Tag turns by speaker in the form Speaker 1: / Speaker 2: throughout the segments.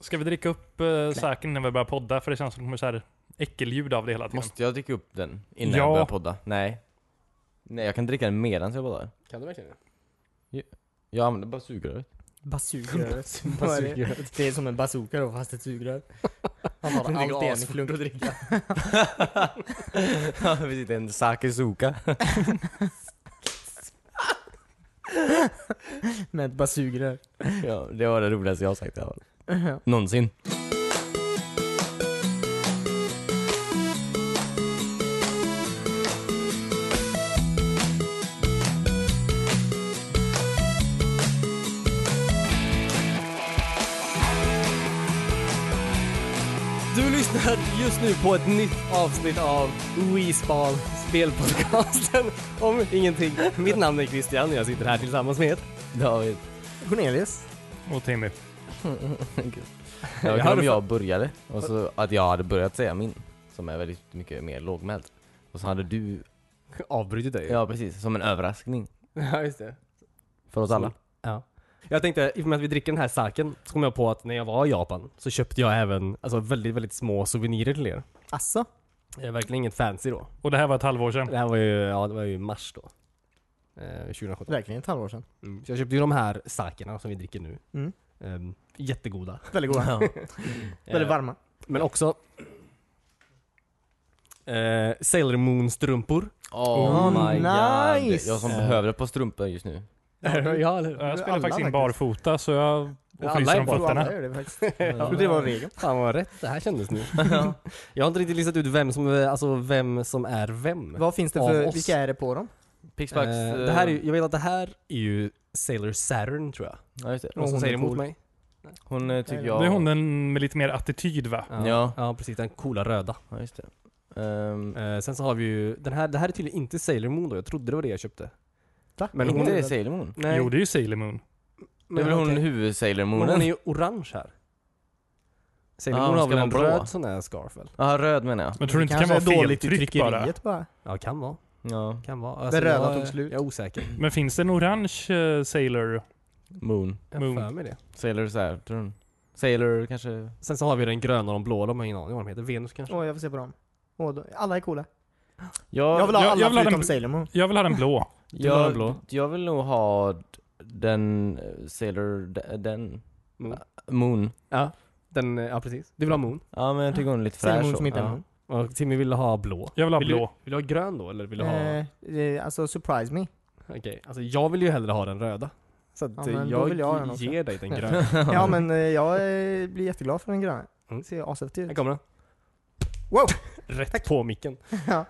Speaker 1: Ska vi dricka upp uh, säken innan vi börjar podda? För det känns som det kommer så här äckelljud av det hela tiden.
Speaker 2: Måste jag dricka upp den innan
Speaker 1: Ja.
Speaker 2: jag börjar podda? Nej. Nej, jag kan dricka den medan jag poddar.
Speaker 3: Kan du verkligen det?
Speaker 2: Jag använder bara sugröret.
Speaker 3: Basugröret. Vad är det? det är som en bazooka då fast ett sugrör. Han har
Speaker 2: Det är
Speaker 3: allt i en
Speaker 2: asfort
Speaker 3: klunk.
Speaker 2: att dricka. ja, precis. En sakesuka.
Speaker 3: Med ett basugrör.
Speaker 2: Ja, det var det roligaste jag har sagt i alla fall.
Speaker 3: Uh-huh.
Speaker 2: Någonsin.
Speaker 3: Du lyssnar just nu på ett nytt avsnitt av Weesball, spelpodcasten om ingenting. Mitt namn är Christian och jag sitter här tillsammans med
Speaker 2: David.
Speaker 3: Cornelius.
Speaker 1: Och Timmy.
Speaker 2: Jag
Speaker 3: Jag
Speaker 2: vet
Speaker 3: hade
Speaker 2: om jag började, och så att jag hade börjat säga min, som är väldigt mycket mer lågmäld. Och så hade du,
Speaker 3: Avbryter dig.
Speaker 2: ja precis, som en överraskning
Speaker 3: ja, just det.
Speaker 2: för oss alla.
Speaker 3: Ja. Jag tänkte, i och med att vi dricker den här saken, så kom jag på att när jag var i Japan så köpte jag även alltså, väldigt, väldigt små souvenirer till er.
Speaker 4: Asså?
Speaker 3: Det är verkligen inget fancy då.
Speaker 1: Och det här var ett halvår sedan.
Speaker 3: Det här var ju, ja, det var ju mars då. Eh, 2017.
Speaker 4: Verkligen ett halvår sedan.
Speaker 3: Så jag köpte ju de här sakerna som vi dricker nu.
Speaker 4: Mm.
Speaker 3: Ehm, jättegoda. Eh,
Speaker 4: Väldigt goda. Väldigt varma.
Speaker 3: Men också eh, Sailor Moon-strumpor.
Speaker 2: Oh,
Speaker 4: Oh,
Speaker 2: my
Speaker 4: nice.
Speaker 2: god. Jag som
Speaker 3: Eh.
Speaker 2: behöver ett par strumpor just nu.
Speaker 3: ja, eller hur?
Speaker 1: Jag spelade
Speaker 4: alla
Speaker 1: faktiskt in
Speaker 4: faktiskt.
Speaker 1: barfota så jag...
Speaker 3: Ja,
Speaker 1: Och fryser om
Speaker 3: alla är-
Speaker 1: fötterna.
Speaker 4: Alla gör det faktiskt.
Speaker 3: Ja.
Speaker 4: trodde det var regeln.
Speaker 3: Fan vad rätt det här kändes nu. jag har inte riktigt listat ut vem som, alltså, vem som är vem.
Speaker 4: Vad finns det
Speaker 3: Av
Speaker 4: för,
Speaker 3: oss.
Speaker 4: vilka är det på dem?
Speaker 2: Pixbucks.
Speaker 3: Eh, det här är, ju- jag vet att det här är ju Sailor Saturn tror jag.
Speaker 2: Ja, just det.
Speaker 3: Någon som
Speaker 4: hon
Speaker 3: säger
Speaker 4: är
Speaker 3: emot
Speaker 4: cool.
Speaker 3: mig?
Speaker 2: Hon eh, tycker jag...
Speaker 1: Det är hon den med lite mer attityd va?
Speaker 2: Ja.
Speaker 3: ja, precis. Den coola röda.
Speaker 2: Ja, just det. Ehm,
Speaker 3: Eh, sen så har vi ju, den här, det här är tydligen inte Sailor Moon då, jag trodde det var det jag köpte.
Speaker 4: Va?
Speaker 3: Men
Speaker 2: inte
Speaker 3: hon-
Speaker 2: det Sailor Moon?
Speaker 3: Nej,
Speaker 1: Jo, det är ju Sailor Moon.
Speaker 2: Det är väl hon
Speaker 3: okej.
Speaker 2: huvud-Sailor
Speaker 3: Men hon är
Speaker 2: Moonen?
Speaker 3: ju orange här. Sailor
Speaker 2: Ja,
Speaker 3: Moon har
Speaker 2: ska
Speaker 3: väl
Speaker 2: den
Speaker 3: en
Speaker 2: vara blå?
Speaker 3: röd sån här scarf väl?
Speaker 2: Ja, röd menar jag.
Speaker 1: Men tror du inte det kan
Speaker 4: Kanske
Speaker 1: vara
Speaker 4: är dåligt i
Speaker 1: feltryck bara?
Speaker 4: tryckeriet bara.
Speaker 3: Ja, kan vara.
Speaker 2: Ja.
Speaker 3: Kan vara. Alltså,
Speaker 4: röda
Speaker 3: jag,
Speaker 4: tog slut.
Speaker 3: Jag är osäker.
Speaker 1: Men finns det en orange eh, Sailor?
Speaker 2: Moon.
Speaker 3: Jag
Speaker 1: Moon.
Speaker 3: har för mig det.
Speaker 2: Sailor Saturn. Sailor kanske...
Speaker 3: Sen så har vi den gröna och den blå, de har ingen aning om vad de heter. Venus kanske?
Speaker 4: Åh, jag får se på dem. Åh, då- alla är coola.
Speaker 2: Jag,
Speaker 4: Jag vill ha
Speaker 1: jag-
Speaker 4: alla
Speaker 1: jag vill ha
Speaker 4: förutom
Speaker 1: den-
Speaker 4: Sailor Moon.
Speaker 1: Jag vill ha den blå.
Speaker 3: vill ha den blå.
Speaker 2: jag, jag vill nog ha d- den eh, Sailor... d- Den... eh,
Speaker 3: Moon.
Speaker 2: Moon.
Speaker 3: Ja, den, eh, ja precis. Du vill ha Moon.
Speaker 2: Ja men jag tycker hon är lite
Speaker 4: Sailor
Speaker 2: fräsch
Speaker 4: Moon
Speaker 2: så.
Speaker 4: som inte är
Speaker 2: Ja.
Speaker 4: Moon.
Speaker 3: Och Timmy ville ha blå.
Speaker 1: Jag vill ha
Speaker 3: Vill du,
Speaker 1: blå.
Speaker 3: vill du ha grön då eller vill du ha...
Speaker 4: Eh, eh, alltså, surprise me.
Speaker 3: Okej, alltså jag vill ju hellre ha den röda. Så att
Speaker 4: Ja,
Speaker 3: eh,
Speaker 4: men då
Speaker 3: jag,
Speaker 4: vill jag ha den också.
Speaker 3: ger dig den gröna.
Speaker 4: Ja, men eh, jag eh, blir jätteglad för den gröna.
Speaker 3: Mm.
Speaker 4: Ser ashäftig
Speaker 3: Här
Speaker 4: ut.
Speaker 3: kommer den.
Speaker 4: Wow!
Speaker 3: Rätt på micken.
Speaker 4: Ja.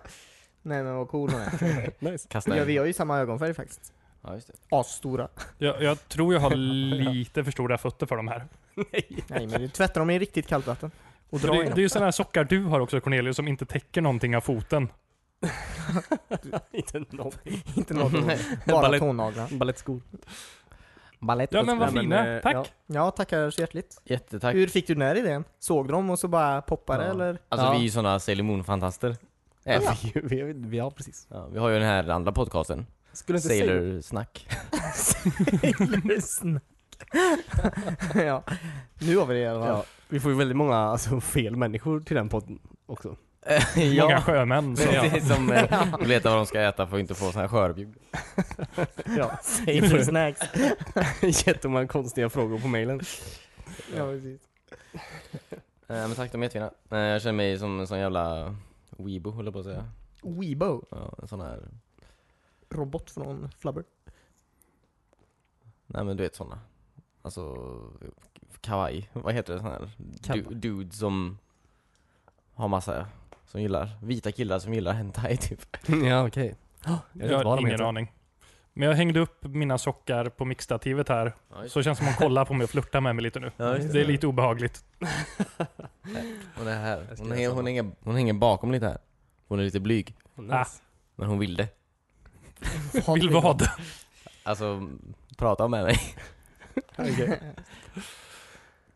Speaker 4: Nej men vad cool hon är.
Speaker 3: Nice.
Speaker 2: Kasta
Speaker 4: Ja,
Speaker 2: in.
Speaker 4: vi har ju samma ögonfärg faktiskt.
Speaker 2: Ja just det.
Speaker 4: Asstora.
Speaker 1: Jag, jag tror jag har lite för stora fötter för de här.
Speaker 4: Nej men du tvättar dem i riktigt kallt vatten. Och
Speaker 1: Det,
Speaker 4: dra i
Speaker 1: det är
Speaker 4: dem.
Speaker 1: ju sådana här sockar du har också Cornelius som inte täcker någonting av foten.
Speaker 3: Inte någonting.
Speaker 4: Inte något. Bara
Speaker 3: Ballett-
Speaker 4: tånaglarna.
Speaker 3: Balettskor.
Speaker 2: Ballett.
Speaker 1: Ja men vad
Speaker 3: Nej, men,
Speaker 1: fina,
Speaker 3: eh,
Speaker 1: tack!
Speaker 3: ja.
Speaker 4: Ja, tackar så hjärtligt.
Speaker 2: Jättetack.
Speaker 4: Hur fick du den här idén? Såg de och så bara poppade
Speaker 3: Ja.
Speaker 4: eller?
Speaker 2: Alltså
Speaker 3: Ja.
Speaker 2: vi är ju sådana Sailor Moon-fantaster. Äh,
Speaker 3: Ja. Vi, vi, vi, ja, precis.
Speaker 2: Ja, vi har ju den här andra podcasten.
Speaker 3: Skulle inte säga
Speaker 2: Sailor Snack.
Speaker 4: Snack. ja, nu har vi det i alla fall.
Speaker 3: ja, Vi får ju väldigt många alltså, fel människor till den podden också.
Speaker 1: Många sjömän som,
Speaker 2: Det är som eh, letar vad de ska äta för att inte få sån här skörbjugg.
Speaker 3: Ja.
Speaker 4: Sailor snacks.
Speaker 3: Jättemånga konstiga frågor på mailen.
Speaker 4: ja, precis.
Speaker 2: Eh, men tack, de är jättefina. Eh, jag känner mig som en sån jävla weebo höll jag på att säga.
Speaker 4: Weibo,
Speaker 2: Ja, en sån här,
Speaker 4: robot från Flubber.
Speaker 2: nej men du vet såna. Alltså, kawaii. Vad heter det sån här? Du,
Speaker 3: Kappa.
Speaker 2: dude som har massa, som gillar, vita killar som gillar hentai typ.
Speaker 3: ja, okej.
Speaker 1: jag har ingen aning. Men jag hängde upp mina sockar på mixtativet här, så det känns som hon kollar på mig och flörtar med mig lite nu.
Speaker 2: Ja, just
Speaker 1: Det är lite obehagligt.
Speaker 2: Hon är här.
Speaker 3: Jag ska
Speaker 2: Hon,
Speaker 3: göra
Speaker 2: hänger,
Speaker 3: samma.
Speaker 2: hon, hänger, hon hänger bakom lite här. Hon är lite blyg.
Speaker 1: Ah.
Speaker 2: Men hon vill det.
Speaker 1: Vill vad?
Speaker 2: Alltså, prata med mig.
Speaker 3: Ah,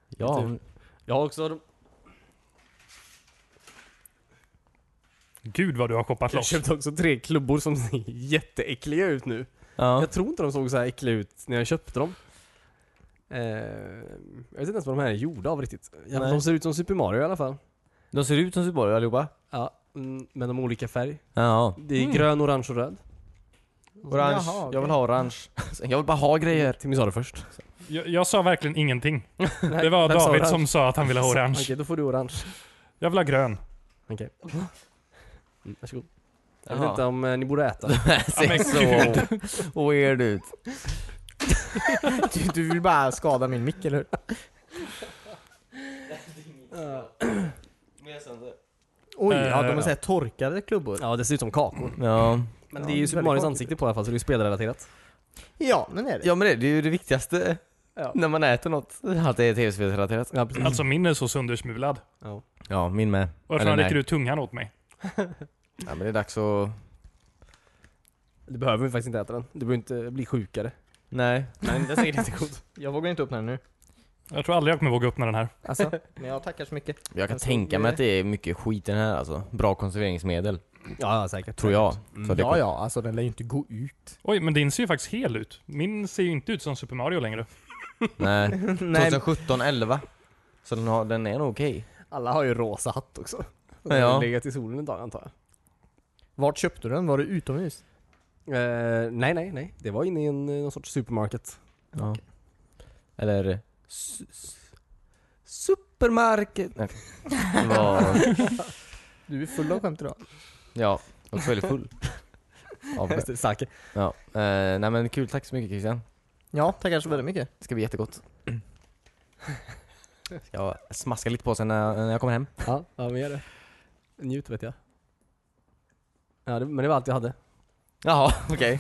Speaker 2: Ja, hon-
Speaker 3: Jag har också
Speaker 1: Gud vad du har shoppat
Speaker 3: jag
Speaker 1: loss.
Speaker 3: köpte också tre klubbor som ser jätteäckliga ut nu.
Speaker 2: ja.
Speaker 3: Jag tror inte de såg så här äckliga ut när jag köpte dem. Eh, jag vet inte ens vad de här är gjorda av riktigt. Ja, de ser ut som Super Mario i alla fall.
Speaker 2: De ser ut som Super Mario allihopa?
Speaker 3: Ja, mm, men de har olika färg.
Speaker 2: Ja.
Speaker 3: Det är
Speaker 1: Mm.
Speaker 3: grön, orange och röd.
Speaker 2: Orange.
Speaker 4: Jaha,
Speaker 2: jag
Speaker 4: okej.
Speaker 2: vill ha orange. Jag vill bara ha grejer.
Speaker 3: Timmy sa det först.
Speaker 1: Jag, jag sa verkligen ingenting.
Speaker 3: Nej,
Speaker 1: Det var
Speaker 3: vem sa
Speaker 1: David
Speaker 3: orange?
Speaker 1: som sa att han ville ha
Speaker 3: Okej,
Speaker 1: orange.
Speaker 3: då får du orange.
Speaker 1: Jag vill ha grön.
Speaker 3: Okej. Mm, varsågod. Jag vet
Speaker 2: Jaha.
Speaker 3: inte om eh, ni borde äta.
Speaker 2: Det
Speaker 1: Ja, men
Speaker 2: ser så weird ut.
Speaker 4: Du, du vill bara skada min mick eller hur? Oj,
Speaker 1: Eh,
Speaker 4: ja de är
Speaker 1: ja.
Speaker 4: såhär torkade klubbor.
Speaker 3: Ja, det ser ut som kakor.
Speaker 2: Ja.
Speaker 3: Men
Speaker 4: Ja,
Speaker 3: det är
Speaker 4: det är
Speaker 3: ju Super Marios
Speaker 4: väldigt
Speaker 3: ansikte på i alla fall, så det är ju spelrelaterat.
Speaker 4: Ja, men är det.
Speaker 2: ja men det, det är ju det viktigaste
Speaker 3: Ja.
Speaker 2: när man äter något. Att det är tv-spelsrelaterat.
Speaker 3: Ja, precis.
Speaker 1: Alltså min är så söndersmulad.
Speaker 3: Ja.
Speaker 2: Ja, min med.
Speaker 1: Varför
Speaker 2: Eller
Speaker 1: han
Speaker 2: nej.
Speaker 1: räcker ut tungan åt mig?
Speaker 2: Ja men det är dags att...
Speaker 3: Du behöver ju faktiskt inte äta den. Du behöver inte bli sjukare.
Speaker 2: Nej.
Speaker 3: Nej, den är säkert inte god.
Speaker 4: Jag vågar inte öppna den nu.
Speaker 1: Jag tror aldrig jag kommer våga öppna den här.
Speaker 4: Alltså, men jag tackar så mycket.
Speaker 2: Jag kan
Speaker 4: Alltså,
Speaker 2: tänka mig
Speaker 4: det-
Speaker 2: att det är mycket skit i den här alltså. Bra konserveringsmedel.
Speaker 3: Ja, ja, säkert.
Speaker 2: Tror jag. Mm. Så det
Speaker 4: Ja, ja, alltså den lär ju inte gå ut.
Speaker 1: Oj, men din ser ju faktiskt hel ut. Min ser ju inte ut som Super Mario längre.
Speaker 2: Nej.
Speaker 4: Nej,
Speaker 2: 2017, 11. Så den, har, den är nog okej.
Speaker 3: Alla har ju rosa hatt också.
Speaker 2: Ja.
Speaker 3: Den har legat i solen en dag antar jag.
Speaker 4: vart köpte du den? Var det utomhus?
Speaker 3: Eh, nej, nej, nej. Det var inne i en, eh, någon sorts supermarket.
Speaker 2: Ja. Eller... s- s- Supermarket. Nej. Det var-
Speaker 4: Du är full av skämt idag.
Speaker 2: ja, också väldigt full. Av det.
Speaker 3: Sake.
Speaker 2: Ja. Eh, nej men kul, tack så mycket Christian.
Speaker 4: Ja, tackar så väldigt mycket.
Speaker 2: Det ska bli jättegott. Jag smaskar lite på sen när, när jag kommer hem.
Speaker 3: Ja, ja, men gör det. Njut vet jag. Ja, det, men det var allt jag hade.
Speaker 2: Jaha, okej.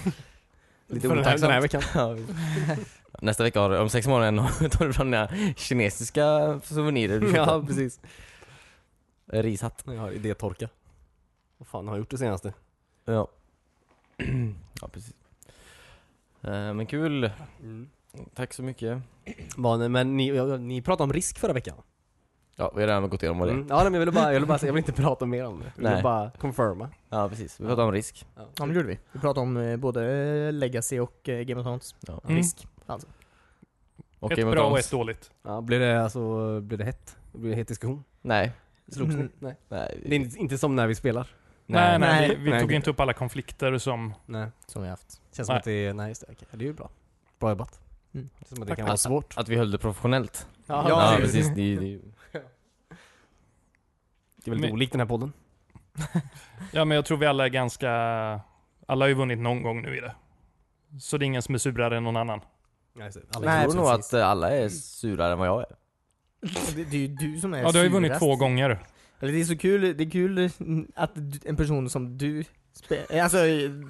Speaker 2: Lite
Speaker 3: För den här- den här
Speaker 2: otacksamt.
Speaker 3: veckan.
Speaker 2: Ja, visst. Nästa vecka, har du- om sex månader, tar du fram dina kinesiska souvenirer du
Speaker 3: Ja,
Speaker 2: köpte.
Speaker 3: precis.
Speaker 2: Rishatt.
Speaker 3: Jag har idétorka. Vad fan har jag gjort det senaste?
Speaker 2: Ja. ja, precis. Eh, men kul.
Speaker 3: Mm.
Speaker 2: Tack så mycket.
Speaker 3: Vad- Men ni, ja, ni pratade om risk förra veckan.
Speaker 2: Ja, vi har redan gått igenom vad det. är.
Speaker 3: Mm. Ja, nej, men jag ville bara, jag ville bara säga, jag vill inte prata mer om det. Jag
Speaker 2: Nej.
Speaker 3: vill bara confirma.
Speaker 2: Ja, precis. Vi pratade om risk.
Speaker 4: Ja, men det gjorde vi. Vi pratade om eh, både eh, Legacy och eh, Game of Thrones.
Speaker 2: Ja.
Speaker 1: Mm.
Speaker 4: Risk. Alltså.
Speaker 2: Och
Speaker 1: ett
Speaker 2: Game of
Speaker 1: bra och
Speaker 2: Thrones.
Speaker 1: ett dåligt.
Speaker 3: Ja, blir det alltså, blir det hett? Blir det het diskussion?
Speaker 2: Nej.
Speaker 3: Slogs ni?
Speaker 4: Mm.
Speaker 3: Nej.
Speaker 2: Nej.
Speaker 3: Det är inte, inte som när vi spelar.
Speaker 1: Nej, nej,
Speaker 4: Nej.
Speaker 1: vi, vi
Speaker 3: Nej.
Speaker 1: tog inte upp alla konflikter som...
Speaker 3: Nej.
Speaker 4: Som vi har haft.
Speaker 3: Känns som
Speaker 1: Nej.
Speaker 3: att det är, nej just det, okej. det är ju bra. Bra jobbat.
Speaker 4: Mm.
Speaker 3: Det känns som att det
Speaker 1: Tack.
Speaker 3: kan vara svårt.
Speaker 2: Att vi höll det professionellt.
Speaker 4: Ja,
Speaker 2: Ja,
Speaker 4: det-
Speaker 2: precis. Det, är- det, är-
Speaker 3: Det är väldigt
Speaker 1: Men-
Speaker 3: olikt den här podden.
Speaker 1: Ja, men jag tror vi alla är ganska... Alla har ju vunnit någon gång nu i det. Så det är ingen som är surare än någon annan.
Speaker 3: Ja, just det.
Speaker 4: Nej,
Speaker 2: jag tror nog
Speaker 4: precis.
Speaker 2: att eh, alla är surare än vad jag är.
Speaker 4: Det, det är ju du som är
Speaker 1: Ja, du har ju vunnit
Speaker 4: surast.
Speaker 1: två gånger.
Speaker 4: Eller det är så kul, det är kul mm, att du- en person som du spe- Alltså,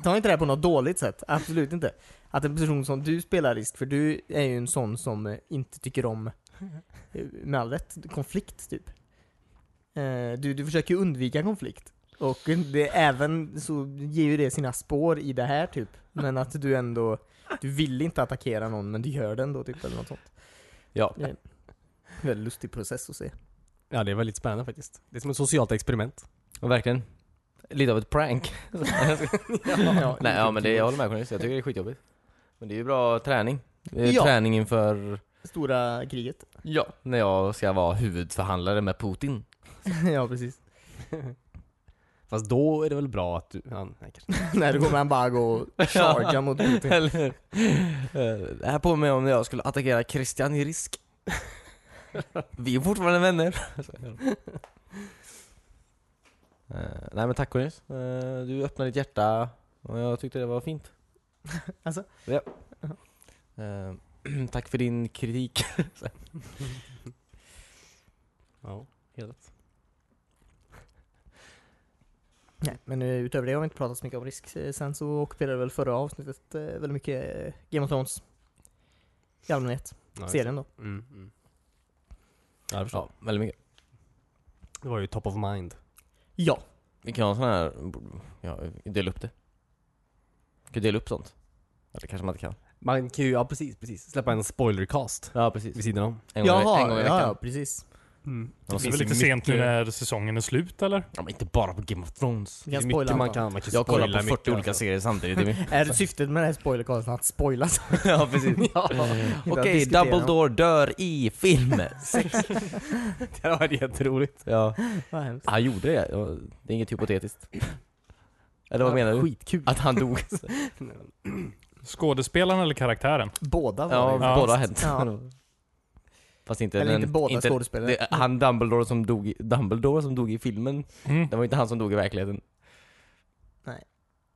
Speaker 4: ta inte det här på något dåligt sätt. Absolut inte. Att en person som du spelar risk, för du är ju en sån som eh, inte tycker om, eh, med all rätt, konflikt typ. Eh, Du, du försöker ju undvika konflikt. Och det, även så ger ju det sina spår i det här typ. Men att du ändå, du vill inte attackera någon men du gör det ändå typ eller något sånt.
Speaker 2: Ja.
Speaker 4: Det är en väldigt lustig process att se.
Speaker 3: Ja, det är väldigt spännande faktiskt. Det är som ett socialt experiment.
Speaker 2: Och verkligen. Lite av ett prank.
Speaker 4: Ja,
Speaker 2: Nej, ja, men det, jag håller med Cornelis. Jag tycker det är skitjobbigt. Men det är ju bra träning. Det är
Speaker 4: Ja.
Speaker 2: Träning inför...
Speaker 4: Stora kriget.
Speaker 2: Ja. När jag ska vara huvudförhandlare med Putin.
Speaker 4: ja precis.
Speaker 3: Fast då är det väl bra att du... Ja, nej, kanske.
Speaker 4: När du kommer han bara gå och charga mot Putin.
Speaker 2: Eller eh, Det här påminner om när jag skulle attackera Christian i risk. Vi är fortfarande vänner. Eh, Nej men tack Cornelis. Eh, Du öppnade ditt hjärta och jag tyckte det var fint.
Speaker 4: Alltså?
Speaker 2: Ja. Eh, Tack för din kritik.
Speaker 3: Ja, helt rätt.
Speaker 4: Nej, men eh, utöver det har vi inte pratat så mycket om risk. Eh, Sen så ockuperade väl förra avsnittet eh, väldigt mycket eh, Game of Thrones. I allmänhet.
Speaker 3: Ja, just det.
Speaker 4: Serien då.
Speaker 3: Mm, mm. Ja, jag förstår.
Speaker 2: Ja, väldigt mycket.
Speaker 3: Det var ju top of mind.
Speaker 4: Ja.
Speaker 2: Vi kan ha en sån här, ja, dela upp det. Vi kan dela upp sånt. Eller kanske man inte kan.
Speaker 3: Man kan ju, ja precis, precis. Släppa en spoilercast
Speaker 2: Ja precis.
Speaker 3: vid sidan om.
Speaker 2: En gång, i- en gång i veckan.
Speaker 4: ja, ja precis. Mm.
Speaker 1: Det är
Speaker 2: finns
Speaker 1: väl
Speaker 2: ju
Speaker 1: lite sent nu
Speaker 2: mycket-
Speaker 1: när säsongen är slut eller?
Speaker 2: Ja, men inte bara på Game of Thrones.
Speaker 4: Vi
Speaker 3: Det är
Speaker 4: kan
Speaker 3: mycket
Speaker 4: spoila
Speaker 3: man
Speaker 4: allt.
Speaker 3: kan, man kan
Speaker 2: Jag kollar
Speaker 3: spoila
Speaker 2: på 40
Speaker 3: mycket, alltså.
Speaker 2: olika serier samtidigt. Jimmy.
Speaker 4: Är syftet med den här spoilercasten att spoila saker?
Speaker 2: ja, precis.
Speaker 4: ja.
Speaker 2: Okej, Dumbledore dör i film. Sex.
Speaker 3: Det hade varit jätteroligt.
Speaker 2: Ja.
Speaker 4: Vad hemskt.
Speaker 2: Han gjorde det. Det var- Det är inget hypotetiskt. Eller vad menar du?
Speaker 4: Skitkul.
Speaker 2: Att han dog?
Speaker 1: Skådespelaren eller karaktären?
Speaker 4: Båda var
Speaker 2: Ja,
Speaker 4: det ju.
Speaker 1: Ja.
Speaker 2: båda har hänt.
Speaker 4: Ja.
Speaker 2: Fast inte
Speaker 4: Eller
Speaker 2: den-
Speaker 4: inte båda skådespelare.
Speaker 2: det, Han Dumbledore som, dog i, Dumbledore som dog i filmen,
Speaker 1: Mm.
Speaker 2: det var inte han som dog i verkligheten.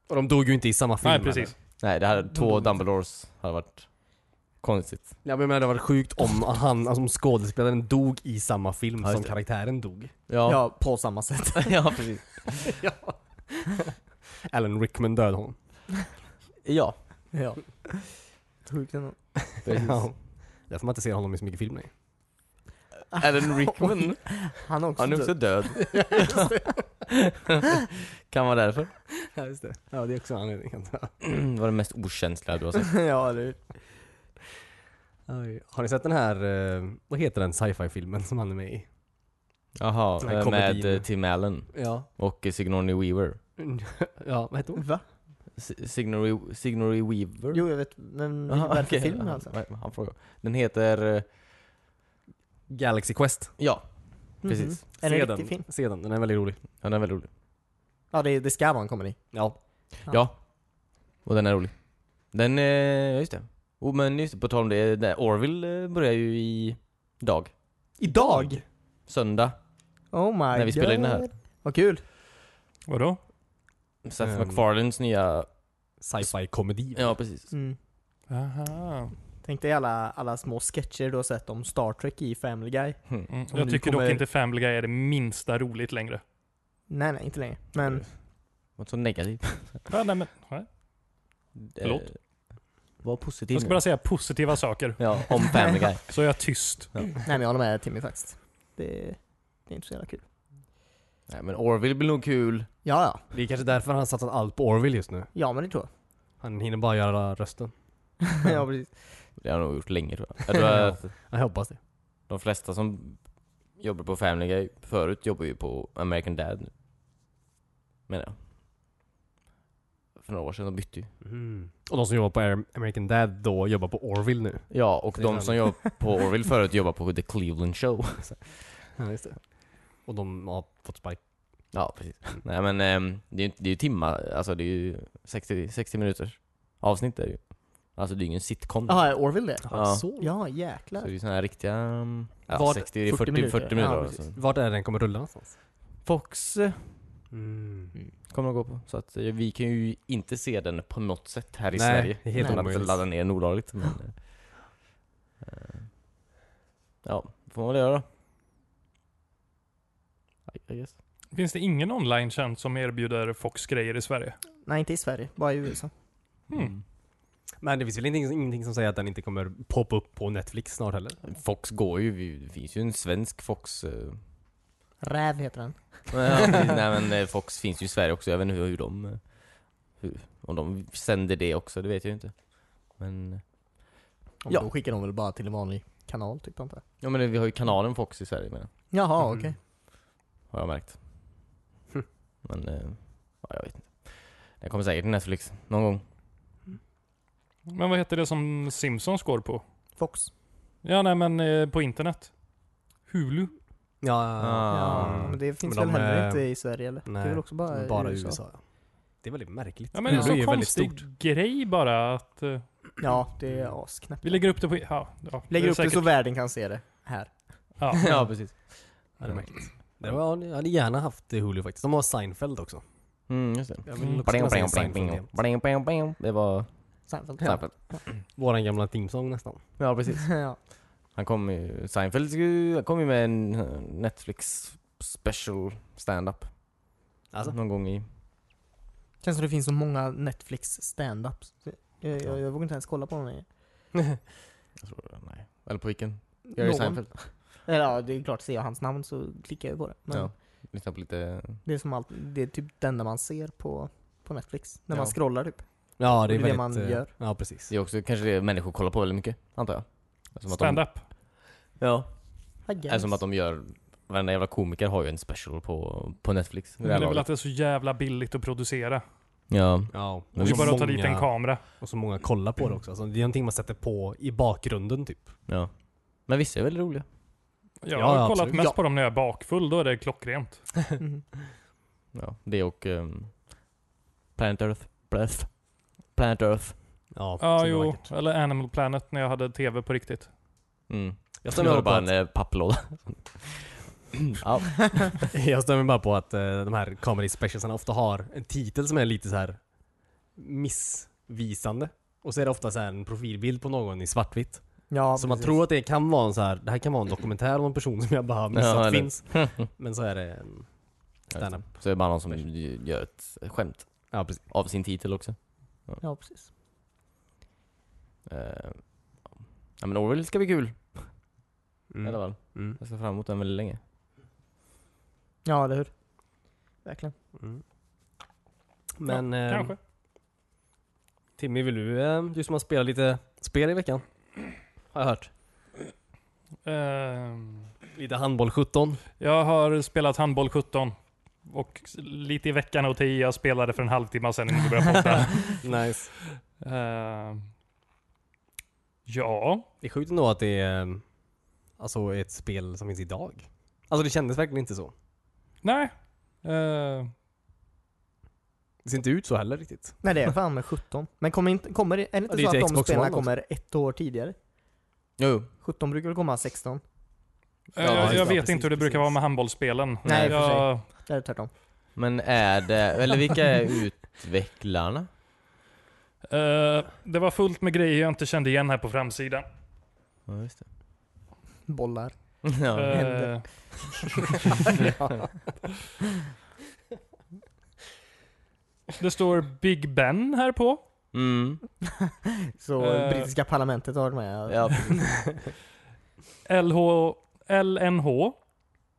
Speaker 3: Och de dog ju inte i samma film.
Speaker 1: Nej, precis.
Speaker 2: Nej, det hade
Speaker 4: De
Speaker 2: två
Speaker 4: dog inte.
Speaker 2: Dumbledores hade varit konstigt.
Speaker 3: Ja, men jag menar, det hade varit sjukt om han, alltså, om skådespelaren dog i samma film
Speaker 2: Ja, just
Speaker 3: som
Speaker 2: det.
Speaker 3: karaktären dog.
Speaker 2: Ja, ja.
Speaker 4: Ja, på samma sätt.
Speaker 2: precis.
Speaker 3: Alan Rickman dödade hon.
Speaker 2: Ja,
Speaker 4: Ja. Sjukt ändå.
Speaker 2: precis.
Speaker 3: Ja. Därför man inte ser honom i så mycket film. Nej.
Speaker 2: Alan Rickman,
Speaker 4: Han har också,
Speaker 2: han är också död. kan vara därför.
Speaker 3: Ja, just det. Ja, det är också en anledning.
Speaker 2: var det mest okänsliga du har sett.
Speaker 4: ja, eller hur?
Speaker 3: Oj. Har ni sett den här, eh, vad heter den sci-fi-filmen som han är med i?
Speaker 2: Jaha,
Speaker 3: Den här
Speaker 2: eh, med
Speaker 3: komedin.
Speaker 2: eh, Tim Allen
Speaker 3: Ja.
Speaker 2: och eh, Sigourney Weaver.
Speaker 3: ja, vad heter hon?
Speaker 4: Va?
Speaker 2: Si- Sigourney, Sigourney Weaver?
Speaker 4: Jo, jag vet. Men
Speaker 2: Aha,
Speaker 4: vad är det för
Speaker 2: okej.
Speaker 4: film alltså?
Speaker 2: Han, nej, han frågar. Den heter, eh,
Speaker 3: Galaxy Quest.
Speaker 2: ja,
Speaker 4: Mhm.
Speaker 2: precis.
Speaker 4: Är det
Speaker 3: Se
Speaker 4: en
Speaker 3: den.
Speaker 4: riktig film?
Speaker 3: Se den, den är väldigt rolig.
Speaker 2: Ja, den är väldigt rolig.
Speaker 4: Ja, det, det ska vara en komedi.
Speaker 3: Ja.
Speaker 4: Ja.
Speaker 2: Ja. Och den är rolig. Den, eh, ja just det. Oh, men just det, på tal om det, det Orville eh, börjar ju i dag.
Speaker 3: Idag?
Speaker 2: Söndag.
Speaker 4: Oh my
Speaker 2: När vi
Speaker 4: god.
Speaker 2: spelar in det här.
Speaker 4: Vad kul.
Speaker 1: Vadå?
Speaker 2: Seth
Speaker 3: Ehm.
Speaker 2: MacFarlanes nya...
Speaker 3: Sci-fi-komedi.
Speaker 2: Ja, precis.
Speaker 4: Mm.
Speaker 1: Aha.
Speaker 4: Tänk dig alla, alla små sketcher du har sett om Star Trek i Family Guy.
Speaker 2: Mm.
Speaker 1: Mm.
Speaker 4: Som
Speaker 1: Jag
Speaker 4: nu
Speaker 1: tycker
Speaker 4: kommer-
Speaker 1: dock inte Family Guy är det minsta roligt längre.
Speaker 4: Nej, nej, inte längre.
Speaker 2: Mm.
Speaker 4: Men
Speaker 2: Något så negativt.
Speaker 1: Ja, nej, men, nej. Förlåt?
Speaker 2: Eh, Var positiv
Speaker 1: Jag ska
Speaker 2: nu.
Speaker 1: bara säga positiva saker,
Speaker 2: Ja, om Family Guy.
Speaker 1: så är jag tyst.
Speaker 4: nej, men jag håller med Timmy faktiskt. Det, det är inte så jävla kul.
Speaker 2: Nej men Orville blir nog kul.
Speaker 4: Ja, ja.
Speaker 3: Det är kanske därför han har satsat allt på Orville just nu.
Speaker 4: Ja, men det tror
Speaker 3: Han hinner bara göra rösten.
Speaker 4: jag. ja, precis.
Speaker 2: Det har jag nog gjort länge tror jag. jag. tror att
Speaker 3: Jag hoppas det.
Speaker 2: De flesta som jobbar på Family Guy förut jobbar ju på American Dad nu. Menar jag. För några år sedan, de bytte ju.
Speaker 3: Och de som jobbar på Air- American Dad då jobbar på Orville nu.
Speaker 2: Ja, och
Speaker 3: Det är
Speaker 2: de
Speaker 3: sant.
Speaker 2: som jobbar på Orville förut jobbar på The Cleveland Show.
Speaker 3: Ja, just det. Och de har fått spark.
Speaker 2: Ja, precis. Nej men ehm, det är ju det är ju timmar, alltså det är ju 60, 60 minuters avsnitt är det ju. Alltså det är ju ingen sitcom.
Speaker 4: Jaha, är Orville det?
Speaker 2: Ja.
Speaker 3: Så.
Speaker 4: Ja,
Speaker 2: Så det är
Speaker 4: jäklar.
Speaker 2: ju sådana här riktiga, ehm, ja,
Speaker 3: Vad-
Speaker 2: 60, det är
Speaker 4: 40
Speaker 2: 40, 40
Speaker 4: minuter.
Speaker 2: minuter.
Speaker 4: Ja,
Speaker 2: alltså.
Speaker 4: precis.
Speaker 3: Vart är den kommer rulla någonstans?
Speaker 2: Fox eh,
Speaker 3: Mm.
Speaker 4: Mm.
Speaker 2: kommer de gå på. Så att eh, vi kan ju inte se den på något sätt här i
Speaker 3: Nej,
Speaker 2: Sverige.
Speaker 3: det är helt
Speaker 2: Utan att
Speaker 3: omöjligt. Mm.
Speaker 2: ladda ner den olagligt. Men, eh, eh, ja, får man väl göra då. I- I guess.
Speaker 1: Finns det ingen online-tjänst som erbjuder Fox grejer i Sverige?
Speaker 4: Nej, inte i Sverige. Bara i USA.
Speaker 1: Mm.
Speaker 3: Men det finns väl ingenting, ingenting som säger att den inte kommer poppa upp på Netflix snart heller?
Speaker 2: Fox går ju, vi- det finns ju en svensk Fox. eh.
Speaker 4: Räv heter den.
Speaker 2: Nej, Nej men eh, Fox finns ju i Sverige också, jag vet inte hur, hur de... eh, Hur, om de sänder det också, det vet jag ju inte. Men... eh,
Speaker 4: Om
Speaker 2: Ja.
Speaker 4: Då skickar de väl bara till en vanlig kanal, typ antar jag.
Speaker 2: Ja men det- vi har ju kanalen Fox i Sverige men,
Speaker 4: Jaha,
Speaker 3: Mm.
Speaker 4: okej.
Speaker 2: har jag märkt.
Speaker 3: Hm.
Speaker 2: Men, eh, ja, jag vet inte. Den kommer säkert till Netflix, någon gång.
Speaker 1: Men vad heter det som Simpsons går på?
Speaker 4: Fox.
Speaker 1: Ja, nej men eh, på internet. Hulu.
Speaker 3: Ja,
Speaker 2: Ah.
Speaker 4: Ja, men det finns
Speaker 3: Men
Speaker 4: väl
Speaker 3: de
Speaker 4: heller
Speaker 3: är-
Speaker 4: inte i Sverige eller? det
Speaker 3: nej,
Speaker 4: är väl också bara,
Speaker 3: Bara,
Speaker 4: i
Speaker 3: i USA. Det är väldigt märkligt.
Speaker 1: Ja, men det är en
Speaker 3: Hulu
Speaker 1: så
Speaker 3: väldigt
Speaker 1: konstig
Speaker 3: stort.
Speaker 1: grej bara att... eh,
Speaker 4: Ja, det
Speaker 3: Mm.
Speaker 4: är asknäppt.
Speaker 1: vi lägger upp det på... Ja, ja,
Speaker 4: Lägger
Speaker 1: är
Speaker 4: upp det så världen kan se det. Här.
Speaker 1: Ja. Mm.
Speaker 2: ja precis.
Speaker 3: Ja, det är märkligt. Det var, jag hade gärna haft Hulu faktiskt. De har Seinfeld också.
Speaker 2: Mm, just det.
Speaker 3: Jag
Speaker 1: Mm.
Speaker 3: vill också
Speaker 2: Bling,
Speaker 3: kunna säga
Speaker 2: bling, bling,
Speaker 3: Seinfeld
Speaker 2: bling,
Speaker 3: igen.
Speaker 2: bling, bling, bling. Det var
Speaker 4: Seinfeld.
Speaker 2: Seinfeld.
Speaker 3: Våran gamla teamsång nästan.
Speaker 2: Ja precis.
Speaker 4: ja.
Speaker 2: Han kom ju, Seinfeld skulle- kom ju med en eh, Netflix special stand-up.
Speaker 3: Alltså?
Speaker 2: Någon gång i
Speaker 4: Känns som det finns så många Netflix standups. Jag, jag, jag vågar inte ens kolla på någon längre.
Speaker 2: Jag tror det, nej. Eller på vilken? Jerry
Speaker 4: Någon.
Speaker 2: Seinfeld.
Speaker 4: Eller, ja, det är klart, ser jag hans namn så klickar jag ju på det. Men
Speaker 2: Ja. Lyssna på lite...
Speaker 4: det är som allt, det är typ det enda man ser på, på Netflix. När man
Speaker 2: Ja.
Speaker 4: scrollar typ.
Speaker 3: Ja,
Speaker 4: det
Speaker 3: det
Speaker 4: är
Speaker 3: är
Speaker 4: det
Speaker 3: väldigt,
Speaker 4: man
Speaker 3: eh,
Speaker 4: gör.
Speaker 3: Ja, precis.
Speaker 2: Det är också kanske det människor kollar på väldigt mycket, antar jag. Som att de-
Speaker 1: Stand-up.
Speaker 2: Alltså, Ja.
Speaker 4: I guess.
Speaker 2: Är som att de gör, varenda jävla komiker har ju en special på, på Netflix. i
Speaker 1: Men
Speaker 2: det här
Speaker 1: det är väl att
Speaker 2: laget.
Speaker 1: det är så jävla billigt att producera.
Speaker 2: Ja.
Speaker 3: Ja.
Speaker 1: Det är bara att ta dit en kamera.
Speaker 3: Och så många kollar på det också. Alltså, det är någonting man sätter på i bakgrunden typ.
Speaker 2: Ja. Men vissa är väldigt roliga.
Speaker 1: Jag
Speaker 3: Ja,
Speaker 1: har
Speaker 3: ja,
Speaker 1: kollat
Speaker 3: absolut.
Speaker 1: mest
Speaker 3: Ja.
Speaker 1: på dem när jag är bakfull, då är det klockrent.
Speaker 4: Mhm.
Speaker 2: Ja. Det och ehm, Planet Earth. Breath. Planet Earth.
Speaker 3: Ja,
Speaker 1: Ja,
Speaker 3: så det är
Speaker 1: jo.
Speaker 3: vackert.
Speaker 1: Eller Animal Planet när jag hade tv på riktigt.
Speaker 2: Mm.
Speaker 3: Jag
Speaker 2: Nu
Speaker 3: stämmer
Speaker 2: har du
Speaker 3: bara
Speaker 2: bara
Speaker 3: på
Speaker 2: en eh, papplåda. ja.
Speaker 3: att, jag stämmer bara på att eh, de här comedy specialsarna ofta har en titel som är lite så här missvisande. Och så är det ofta så här en profilbild på någon i svartvitt.
Speaker 4: Ja,
Speaker 3: så man
Speaker 4: precis.
Speaker 3: tror att det kan vara en så här, det här kan vara en dokumentär om en person som jag bara har
Speaker 2: Ja,
Speaker 3: missat
Speaker 2: eller-
Speaker 3: finns. Men så är det en standup.
Speaker 2: Så är det bara någon som gör ett skämt
Speaker 3: Ja, precis.
Speaker 2: av sin titel också.
Speaker 4: Ja, precis.
Speaker 2: Eh, ja men Orwell ska bli kul i alla
Speaker 3: Mm.
Speaker 2: fall.
Speaker 3: Mm.
Speaker 2: Jag ser fram emot den väldigt länge.
Speaker 4: Ja, eller hur? Verkligen.
Speaker 3: Mm. Men eh,
Speaker 1: Kanske.
Speaker 3: Timmy, vill du, eh, du som har spelat lite spel i veckan? Har jag hört.
Speaker 1: Ehm,
Speaker 3: Lite handboll 17.
Speaker 1: jag har spelat handboll 17. Och s- lite i veckan och tio jag spelade för en halvtimme sedan innan vi började podda.
Speaker 3: Nice.
Speaker 1: Ehm, ja,
Speaker 3: Det är sjukt ändå att det är eh, alltså, ett spel som finns idag. Alltså det kändes verkligen inte så.
Speaker 1: nej. Ehm,
Speaker 3: Det ser inte ut så heller riktigt.
Speaker 4: Nej, det är fan med 17. Men kommer inte, kommer, det- är det
Speaker 3: Ja,
Speaker 4: inte
Speaker 3: det är
Speaker 4: så
Speaker 3: till
Speaker 4: att de
Speaker 3: Xbox One
Speaker 4: spelarna
Speaker 3: också.
Speaker 4: kommer ett år tidigare?
Speaker 2: Jo, jo.
Speaker 4: 17 brukar väl komma 16?
Speaker 1: eh,
Speaker 3: Ja,
Speaker 1: jag
Speaker 3: just det.
Speaker 1: vet
Speaker 3: Precis,
Speaker 1: inte hur det brukar
Speaker 3: precis.
Speaker 1: vara med handbollsspelen.
Speaker 4: Nej, i och för sig.
Speaker 1: jag,
Speaker 4: Eller tvärtom.
Speaker 2: Men är det, eller vilka är utvecklarna?
Speaker 1: eh, det var fullt med grejer jag inte kände igen här på framsidan.
Speaker 2: Ja just det.
Speaker 4: Bollar.
Speaker 2: ja.
Speaker 1: Eh, det står Big Ben här på.
Speaker 2: Mm.
Speaker 4: Så
Speaker 1: Eh.
Speaker 4: brittiska parlamentet har varit med.
Speaker 2: Ja.
Speaker 1: LH, LNH.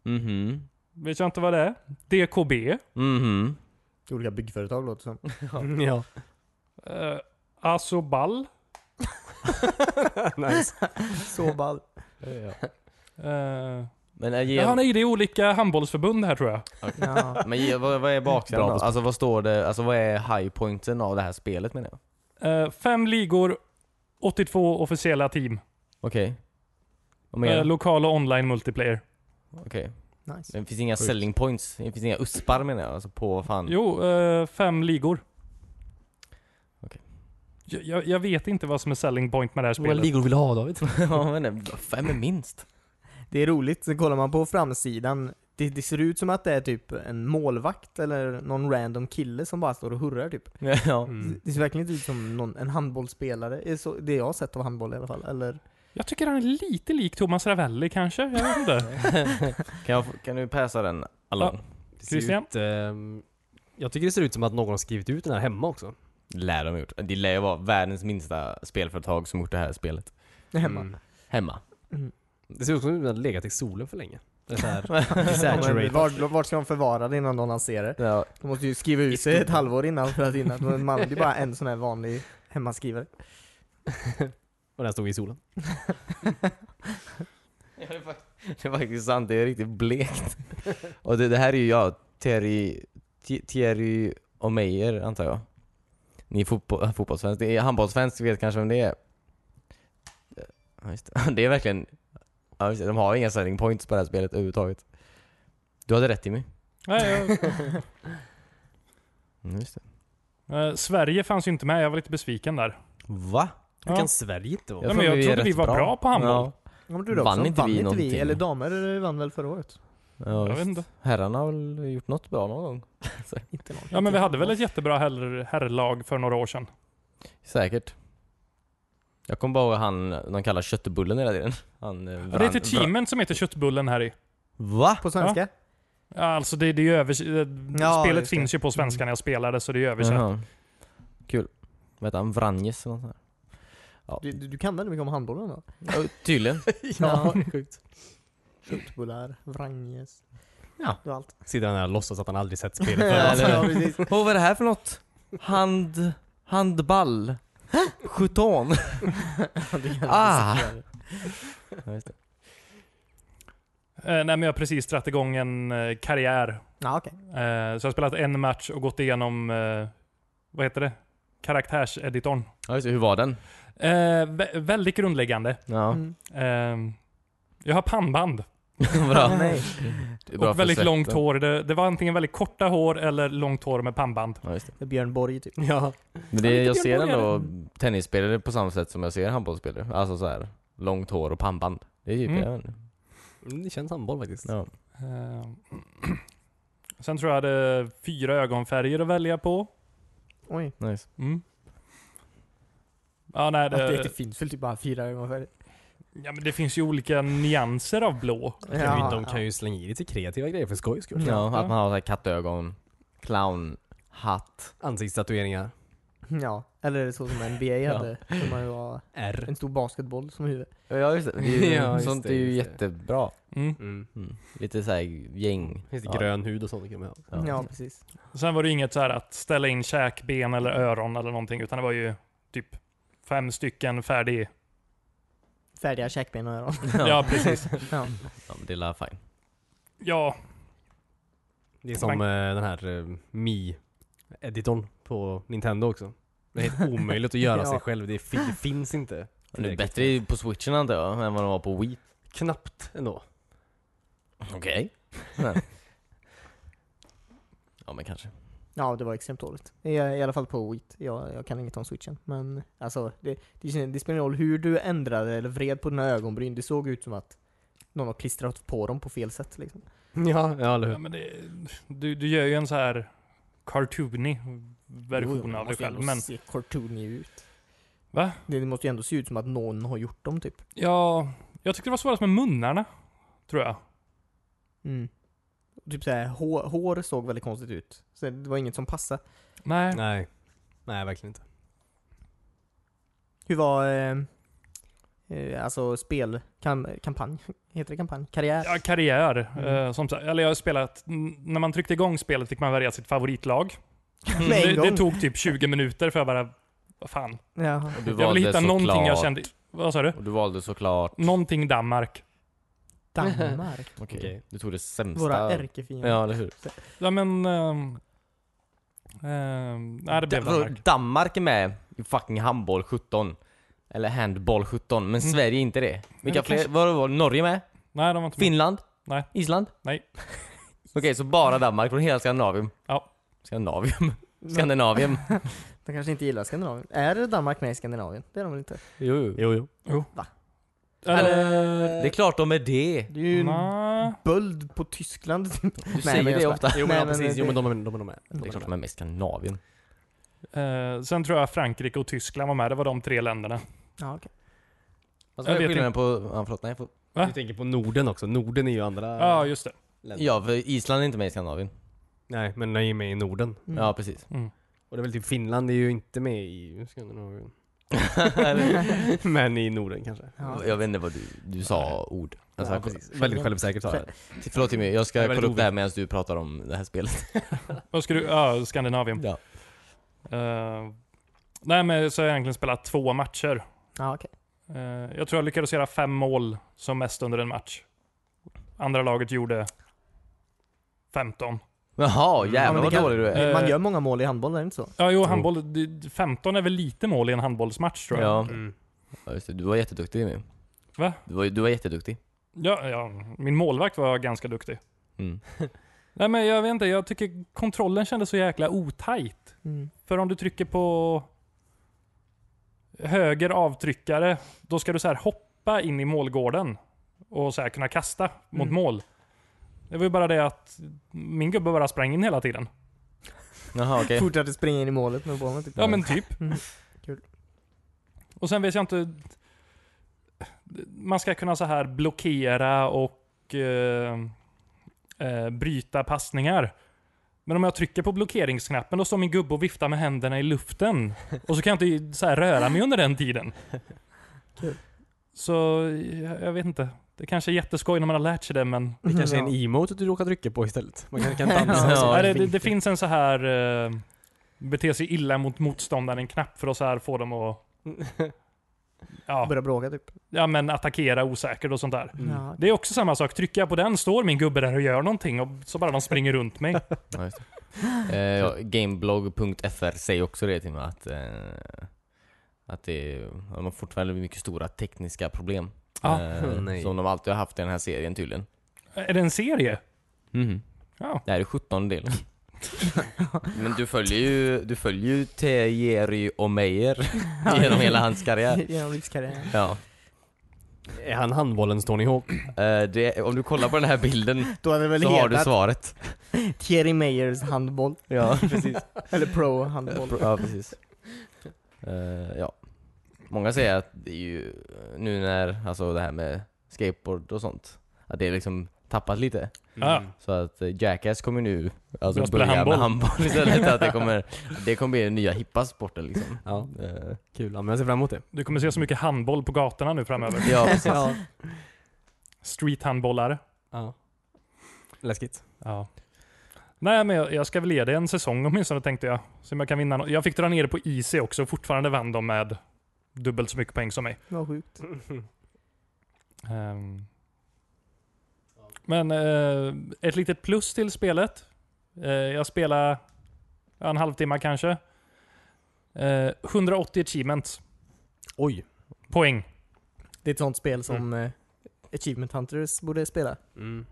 Speaker 2: Mhm.
Speaker 1: Vet jag inte vad det är. DKB.
Speaker 2: Mhm.
Speaker 4: Olika byggföretag låter som.
Speaker 3: ja.
Speaker 1: Eh, Asoball.
Speaker 3: nice.
Speaker 4: Så ball.
Speaker 1: Eh,
Speaker 2: Men är ge...
Speaker 1: Jaha, nej, det är olika handbollsförbund här tror jag.
Speaker 4: Ja.
Speaker 2: Men ge, vad, vad är baksidan
Speaker 3: Bra
Speaker 2: då?
Speaker 3: besparing.
Speaker 2: Alltså vad står det, alltså vad är highpointen av det här spelet menar jag?
Speaker 1: Eh, fem ligor, 82 officiella team.
Speaker 2: Okej. Vad
Speaker 1: Eh,
Speaker 2: menar du?
Speaker 1: lokal och online multiplayer.
Speaker 2: Okej.
Speaker 4: Nice.
Speaker 2: Det finns inga
Speaker 3: Sjukt.
Speaker 2: selling points? Det finns inga uspar menar jag? Alltså på vad fan?
Speaker 1: Jo, eh, fem ligor.
Speaker 2: Okej.
Speaker 1: Jag- Jag, jag vet inte vad som är selling point med det här
Speaker 3: Många
Speaker 1: spelet.
Speaker 3: ligor vill du ha David?
Speaker 2: ja men nej, fem är minst.
Speaker 4: Det är roligt, så kollar man på framsidan. Det, det ser ut som att det är typ en målvakt eller någon random kille som bara står och hurrar typ.
Speaker 2: ja.
Speaker 4: Det- Det ser verkligen inte ut som någon, en handbollsspelare. Det är så, det jag har sett av handboll i alla fall. Eller?
Speaker 1: Jag tycker han är lite lik Thomas Ravelli kanske. Jag vet inte.
Speaker 2: Kan, jag, få- kan du passa den along?
Speaker 3: Det ser
Speaker 1: Christian?
Speaker 3: Ut, ehm, jag tycker det ser ut som att någon har skrivit ut den här hemma också.
Speaker 2: Lär de ha gjort. Det lär ju vara världens minsta spelföretag som gjort det här spelet.
Speaker 4: Hemma.
Speaker 3: Mm.
Speaker 2: Hemma.
Speaker 3: Det ser ut som att den har legat i solen för länge. Det är så här,
Speaker 4: Ja, men
Speaker 3: exaggerated.
Speaker 4: vart, vart ska de förvara det innan de lanserar det?
Speaker 2: Ja,
Speaker 4: De måste ju skriva ut sig ett halvår innan för att innan. Men Man, det är bara en sån här vanlig hemmaskrivare.
Speaker 3: Och den stod i solen.
Speaker 2: Ja, det, är faktiskt, det är faktiskt sant, det är riktigt blekt. Och det, det här är ju jag, Thierry, Thi- Thierry och Meyer antar jag. Ni är fotbo- äh, fotbollsfans, det är handbollsfans, vet kanske vem det är? Ja, just det. det är verkligen, ja, just det, de har inga selling points på det här spelet överhuvudtaget. Du hade rätt Timmy.
Speaker 1: nej,
Speaker 2: Mm, just det.
Speaker 1: jag, eh, Sverige fanns ju inte med. Jag var lite besviken där.
Speaker 2: Va?
Speaker 3: Hur
Speaker 1: Ja.
Speaker 3: kan Sverige inte vara
Speaker 1: Ja, men jag trodde vi
Speaker 2: rätt
Speaker 1: var bra på handboll.
Speaker 2: Ja,
Speaker 4: Ja, men du då
Speaker 2: Vann
Speaker 4: också.
Speaker 2: inte vi någonting?
Speaker 4: Eller damer vann väl förra året?
Speaker 2: ja,
Speaker 1: Jag vet
Speaker 2: visst.
Speaker 1: inte.
Speaker 2: Herrarna har väl gjort något bra någon gång?
Speaker 4: Inte någon.
Speaker 1: Ja, men vi hade väl ett jättebra herr- herrlag för några år sedan.
Speaker 2: Säkert. Jag kommer bara ihåg han, de kallar köttbullen hela tiden. Han eh,
Speaker 1: Ja,
Speaker 2: vran,
Speaker 1: det heter
Speaker 2: vran-
Speaker 1: teamen som heter Köttbullen här i.
Speaker 2: Va?
Speaker 4: På svenska?
Speaker 1: Ja, Alltså det, det är ju övers- eh,
Speaker 4: Ja,
Speaker 1: Spelet
Speaker 4: just det.
Speaker 1: finns ju på svenska när jag spelade så det är ju översatt.
Speaker 2: Jaha. Kul. Vad heter han? Vranjes eller nåt sånt
Speaker 4: Du, du, du kan väldigt mycket om handbollen då?
Speaker 2: där? Ja, Tydligen.
Speaker 4: Ja.
Speaker 3: sjukt.
Speaker 4: Köttbullar, vranjes.
Speaker 2: Ja.
Speaker 4: Du har allt.
Speaker 3: Sitter han där och låtsas att han aldrig sett spelet
Speaker 2: Ja,
Speaker 3: förut.
Speaker 2: eller-
Speaker 4: precis.
Speaker 2: Och vad är det här för något? Hand... Handball. Skjuton.
Speaker 4: Du kan
Speaker 2: Ah.
Speaker 4: precis göra det.
Speaker 2: Ja, just det.
Speaker 1: Eh, nej, men jag har precis dragit igång en eh, karriär.
Speaker 4: Ja, okej.
Speaker 1: Eh, så jag har spelat en match och gått igenom, eh, vad heter det? Karaktärseditorn.
Speaker 2: Ja, just det. Hur var den?
Speaker 1: Eh, vä- väldigt grundläggande.
Speaker 2: Ja,
Speaker 4: Mm.
Speaker 1: Eh, jag har pannband
Speaker 2: bra.
Speaker 4: Nej.
Speaker 2: Det är bra
Speaker 1: och
Speaker 2: för
Speaker 1: väldigt
Speaker 2: svetten.
Speaker 1: långt hår. Det, det var antingen väldigt korta hår eller långt hår med pannband.
Speaker 2: Ja, just det.
Speaker 4: Det är Björn Borg typ.
Speaker 3: Ja.
Speaker 2: Men det, jag
Speaker 1: lite
Speaker 2: ser ändå
Speaker 1: göteborgare.
Speaker 2: tennisspelare på samma sätt som jag ser handbollsspelare. Alltså så här långt hår och pannband. Det är ju
Speaker 1: Mm.
Speaker 2: mm.
Speaker 3: Mm, Det känns handboll faktiskt.
Speaker 2: ja.
Speaker 1: Eh, sen tror jag jag hade fyra ögonfärger att välja på.
Speaker 4: Oj.
Speaker 2: nice.
Speaker 1: Mm. Ja, nej,
Speaker 4: Att det, det
Speaker 1: det,
Speaker 4: finns väl typ bara fyra ögonfärger?
Speaker 1: ja, men det finns ju olika nyanser av blå.
Speaker 3: De kan ju- de kan ju slänga i lite kreativa grejer för skojs skull.
Speaker 2: ja, att man har så här kattögon, clown, hatt.
Speaker 3: Ansiktstatueringar.
Speaker 4: Ja, eller är det så som NBA
Speaker 2: Ja.
Speaker 4: hade? Som man ju var
Speaker 3: R.
Speaker 4: en stor basketboll som huvud.
Speaker 2: Ja just det. är ju,
Speaker 3: Ja, just
Speaker 2: sånt
Speaker 3: det,
Speaker 2: är ju
Speaker 3: just det.
Speaker 2: jättebra.
Speaker 1: Mm.
Speaker 3: Mm.
Speaker 2: Lite såhär gäng.
Speaker 3: Finns det
Speaker 2: Ja.
Speaker 3: grön hud och sånt? kan man ha.
Speaker 4: Ja,
Speaker 2: Ja.
Speaker 4: precis.
Speaker 1: Sen var det ju inget så här att ställa in käkben eller öron eller någonting, utan det var ju typ fem stycken färdig.
Speaker 4: Färdiga käkben och öron.
Speaker 1: Ja, precis.
Speaker 4: Ja.
Speaker 2: Ja, men det är la fine.
Speaker 1: Ja,
Speaker 3: Det är som
Speaker 1: Man-
Speaker 3: eh, den här eh, Mi-editorn på Nintendo också. Det är helt omöjligt att göra
Speaker 4: Ja.
Speaker 3: sig själv. Det, fin- det finns inte.
Speaker 2: Men det är bättre på switchen antar jag, än vad de var på Wii.
Speaker 3: Knappt ändå.
Speaker 2: Okej. Men- ja men kanske.
Speaker 4: ja, det var extremt dåligt. I, I alla fall på Wii. Jag, jag kan inget om switchen. Men alltså, det, det, känns- det spelar ingen roll hur du ändrade eller vred på dina ögonbryn. Det såg ut som att någon har klistrat på dem på fel sätt liksom.
Speaker 3: Ja, ja eller
Speaker 1: ja
Speaker 3: hur?
Speaker 1: men det, du, du gör ju en så här cartoony version av dig själv. Men
Speaker 4: alltså, se cartoony ut.
Speaker 1: Va?
Speaker 4: Det, det måste ju ändå se ut som att någon har gjort dem typ.
Speaker 1: ja, jag tyckte det var svårast med munnarna, tror jag.
Speaker 4: Mm. Typ såhär, hår, hår såg väldigt konstigt ut. Så det var inget som passade.
Speaker 1: Nej,
Speaker 3: Nej. Nej, verkligen inte.
Speaker 4: Hur var eh, eh, alltså spel, kam, kampanj? Heter det kampanj? Karriär?
Speaker 1: ja, karriär.
Speaker 4: Mm.
Speaker 1: eh, som, sagt. eller jag har spelat, n- när man tryckte igång spelet fick man välja sitt favoritlag.
Speaker 4: Med en
Speaker 1: Det,
Speaker 4: gång?
Speaker 1: det tog typ 20 minuter för jag bara, vad fan.
Speaker 4: Jaha.
Speaker 2: Och du
Speaker 1: Jag ville hitta någonting jag
Speaker 2: såklart-
Speaker 1: kände, vad sa du?
Speaker 2: Och du valde såklart...
Speaker 1: Någonting Danmark.
Speaker 4: Danmark?
Speaker 2: Okej.
Speaker 3: Okej.
Speaker 2: Du tog det sämsta.
Speaker 4: Våra ärkefiender.
Speaker 2: Ja, eller hur?
Speaker 1: Ja men... ehm, ehm, nej det blev
Speaker 2: Da-
Speaker 1: Danmark.
Speaker 2: Danmark är med i fucking handboll 17. Eller handboll 17, men
Speaker 1: Mm.
Speaker 2: Sverige är inte det. Vilka
Speaker 1: det kanske-
Speaker 2: fler? Var, var Norge med?
Speaker 1: Nej de var inte med.
Speaker 2: Finland?
Speaker 1: Nej.
Speaker 2: Island?
Speaker 1: Nej.
Speaker 2: Okej, så bara Danmark från hela Skandinavien?
Speaker 1: Ja.
Speaker 2: Skandinavien?
Speaker 4: Men
Speaker 2: Skandinavien?
Speaker 4: De kanske inte gillar Skandinavien. Är Danmark med i Skandinavien? Det är de väl inte?
Speaker 2: jo, jo.
Speaker 3: Jo, jo.
Speaker 1: Eller...
Speaker 2: Det är klart de är det.
Speaker 4: Det är ju en
Speaker 1: Nej.
Speaker 4: böld på Tyskland.
Speaker 2: Du säger
Speaker 4: men
Speaker 2: det
Speaker 4: jag skojar.
Speaker 2: ofta.
Speaker 3: Jo, men
Speaker 4: Nej,
Speaker 3: ja,
Speaker 4: men
Speaker 3: precis.
Speaker 4: det-
Speaker 3: Jo, men de, de, de, de är
Speaker 2: Det är klart
Speaker 3: med.
Speaker 2: de är med i Skandinavien.
Speaker 1: Eh, sen tror jag Frankrike och Tyskland var med. Det var de tre länderna.
Speaker 4: Ja, okej.
Speaker 2: Alltså,
Speaker 1: Jag
Speaker 2: vad är
Speaker 1: vet
Speaker 2: skillnaden på... Ja, förlåt, nej. För,
Speaker 1: Va?
Speaker 3: Du tänker på Norden också. Norden är ju andra
Speaker 1: Ja,
Speaker 3: eh,
Speaker 1: just det.
Speaker 3: länder.
Speaker 2: ja, för Island är inte med i Skandinavien.
Speaker 3: Nej, men de är ju med i Norden.
Speaker 4: Mm.
Speaker 2: Ja, precis.
Speaker 1: Mm.
Speaker 3: Och det är väl typ Finland är ju inte med i Skandinavien. men i Norden kanske.
Speaker 4: Ja.
Speaker 2: Jag vet inte vad du, du sa ord. Alltså,
Speaker 3: ja,
Speaker 2: jag-
Speaker 3: precis. Väldigt självsäkert sa jag.
Speaker 2: Förlåt Timmy, jag
Speaker 3: Det
Speaker 2: ska
Speaker 3: är väldigt
Speaker 2: kolla upp det här medan du pratar om det här spelet.
Speaker 1: Vad ska du... Ja, Skandinavien.
Speaker 2: Ja.
Speaker 1: Eh, nej men så har jag egentligen spelat två matcher.
Speaker 4: Ja, okej.
Speaker 1: Eh, jag tror jag lyckades göra fem mål som mest under en match. Andra laget gjorde 15.
Speaker 2: Jaha,
Speaker 3: Ja,
Speaker 2: jävlar
Speaker 4: men det
Speaker 2: vad
Speaker 4: kan-
Speaker 2: dålig du är.
Speaker 1: Eh,
Speaker 4: Man gör många mål i handboll, är det inte så?
Speaker 1: Ja, jo, handboll. det- 15 är väl lite mål i en handbollsmatch tror jag.
Speaker 2: Ja,
Speaker 3: Mm.
Speaker 2: ja, just det. Du var jätteduktig Timmy.
Speaker 1: Va?
Speaker 2: Du var, du var jätteduktig.
Speaker 1: Ja, ja, min målvakt var ganska duktig.
Speaker 2: Mm.
Speaker 1: Nej men jag vet inte, jag tycker kontrollen kändes så jäkla otajt.
Speaker 4: Mm.
Speaker 1: För om du trycker på höger avtryckare, då ska du så här hoppa in i målgården och så här kunna kasta mot
Speaker 4: Mm.
Speaker 1: mål. Det var ju bara det att min gubbe bara sprang in hela tiden.
Speaker 2: Jaha okej.
Speaker 4: Fortsatte springa in i målet med bollen typ.
Speaker 1: Ja men typ.
Speaker 4: Mm. Kul.
Speaker 1: Och sen vet jag inte... Man ska kunna så här blockera och eh, eh, bryta passningar. Men om jag trycker på blockeringsknappen då står min gubbe och viftar med händerna i luften. Och så kan jag inte så här röra mig under den tiden.
Speaker 4: Kul.
Speaker 1: Så jag, jag vet inte. Det kanske är jätteskoj när man har lärt sig det men...
Speaker 3: Det kanske är en
Speaker 4: Mm. Ja.
Speaker 3: emote du råkar trycka på istället. Man kan, kan inte använda
Speaker 2: Ja,
Speaker 1: Nej,
Speaker 3: sig.
Speaker 1: det, det, det finns en så här eh, bete sig illa mot motståndaren knapp för att så här få dem att Ja,
Speaker 4: börjar bråka typ.
Speaker 1: ja men attackera osäkert och sånt där.
Speaker 3: Mm.
Speaker 4: Ja.
Speaker 1: Det är också samma sak. Trycker jag på den står min gubbe där och gör någonting och så bara de springer runt mig.
Speaker 2: Ja, just det. Eh, ja, Gameblog.fr säger också det till mig att, eh, att det är, de har fortfarande mycket stora tekniska problem.
Speaker 1: Ja.
Speaker 2: eh,
Speaker 3: Nej.
Speaker 2: som de alltid har haft i den här serien tydligen.
Speaker 1: Är det en serie? Ja.
Speaker 2: Det här är 17 delen. Men du följer ju, du följer ju Thierry Omeyer genom hela hans karriär.
Speaker 4: Genom livskarriären.
Speaker 2: Ja.
Speaker 3: Är han handbollens Tony Hawk?
Speaker 2: Eh, det, om du kollar på den här bilden
Speaker 4: Då hade det väl
Speaker 2: så har du
Speaker 4: hetat
Speaker 2: svaret.
Speaker 4: Thierry Meyers handboll.
Speaker 2: Ja, precis.
Speaker 4: Eller pro-handboll.
Speaker 2: Ja, precis. Eh, ja. Många säger att det är ju eh, nu när, alltså det här med skateboard och sånt, att det är liksom tappat lite.
Speaker 1: Ja.
Speaker 2: Så att eh, Jackass kommer nu alltså
Speaker 1: Börja spela
Speaker 2: börja med handboll istället. att det kommer, det kommer bli den nya hippa sporten liksom.
Speaker 3: Ja,
Speaker 2: Eh,
Speaker 3: kul. Ja, men jag ser fram emot det.
Speaker 1: Du kommer se så mycket handboll på gatorna nu framöver.
Speaker 2: ja, precis.
Speaker 3: Ja.
Speaker 1: Streethandbollar.
Speaker 3: ja. Läskigt.
Speaker 1: Ja. Nej, men jag, jag ska väl ge det en säsong åtminstone tänkte jag. Så jag kan vinna nå- Jag fick dra ner det på IC också och fortfarande vann de med dubbelt så mycket poäng som mig.
Speaker 4: Vad sjukt.
Speaker 1: Ehm. Men eh, ett litet plus till spelet. Eh, jag spelar ja, en halvtimme kanske. Eh, 180 achievements.
Speaker 3: Oj.
Speaker 1: Poäng.
Speaker 4: Det är ett sånt spel som eh, Achievement Hunters borde spela.
Speaker 3: Mm.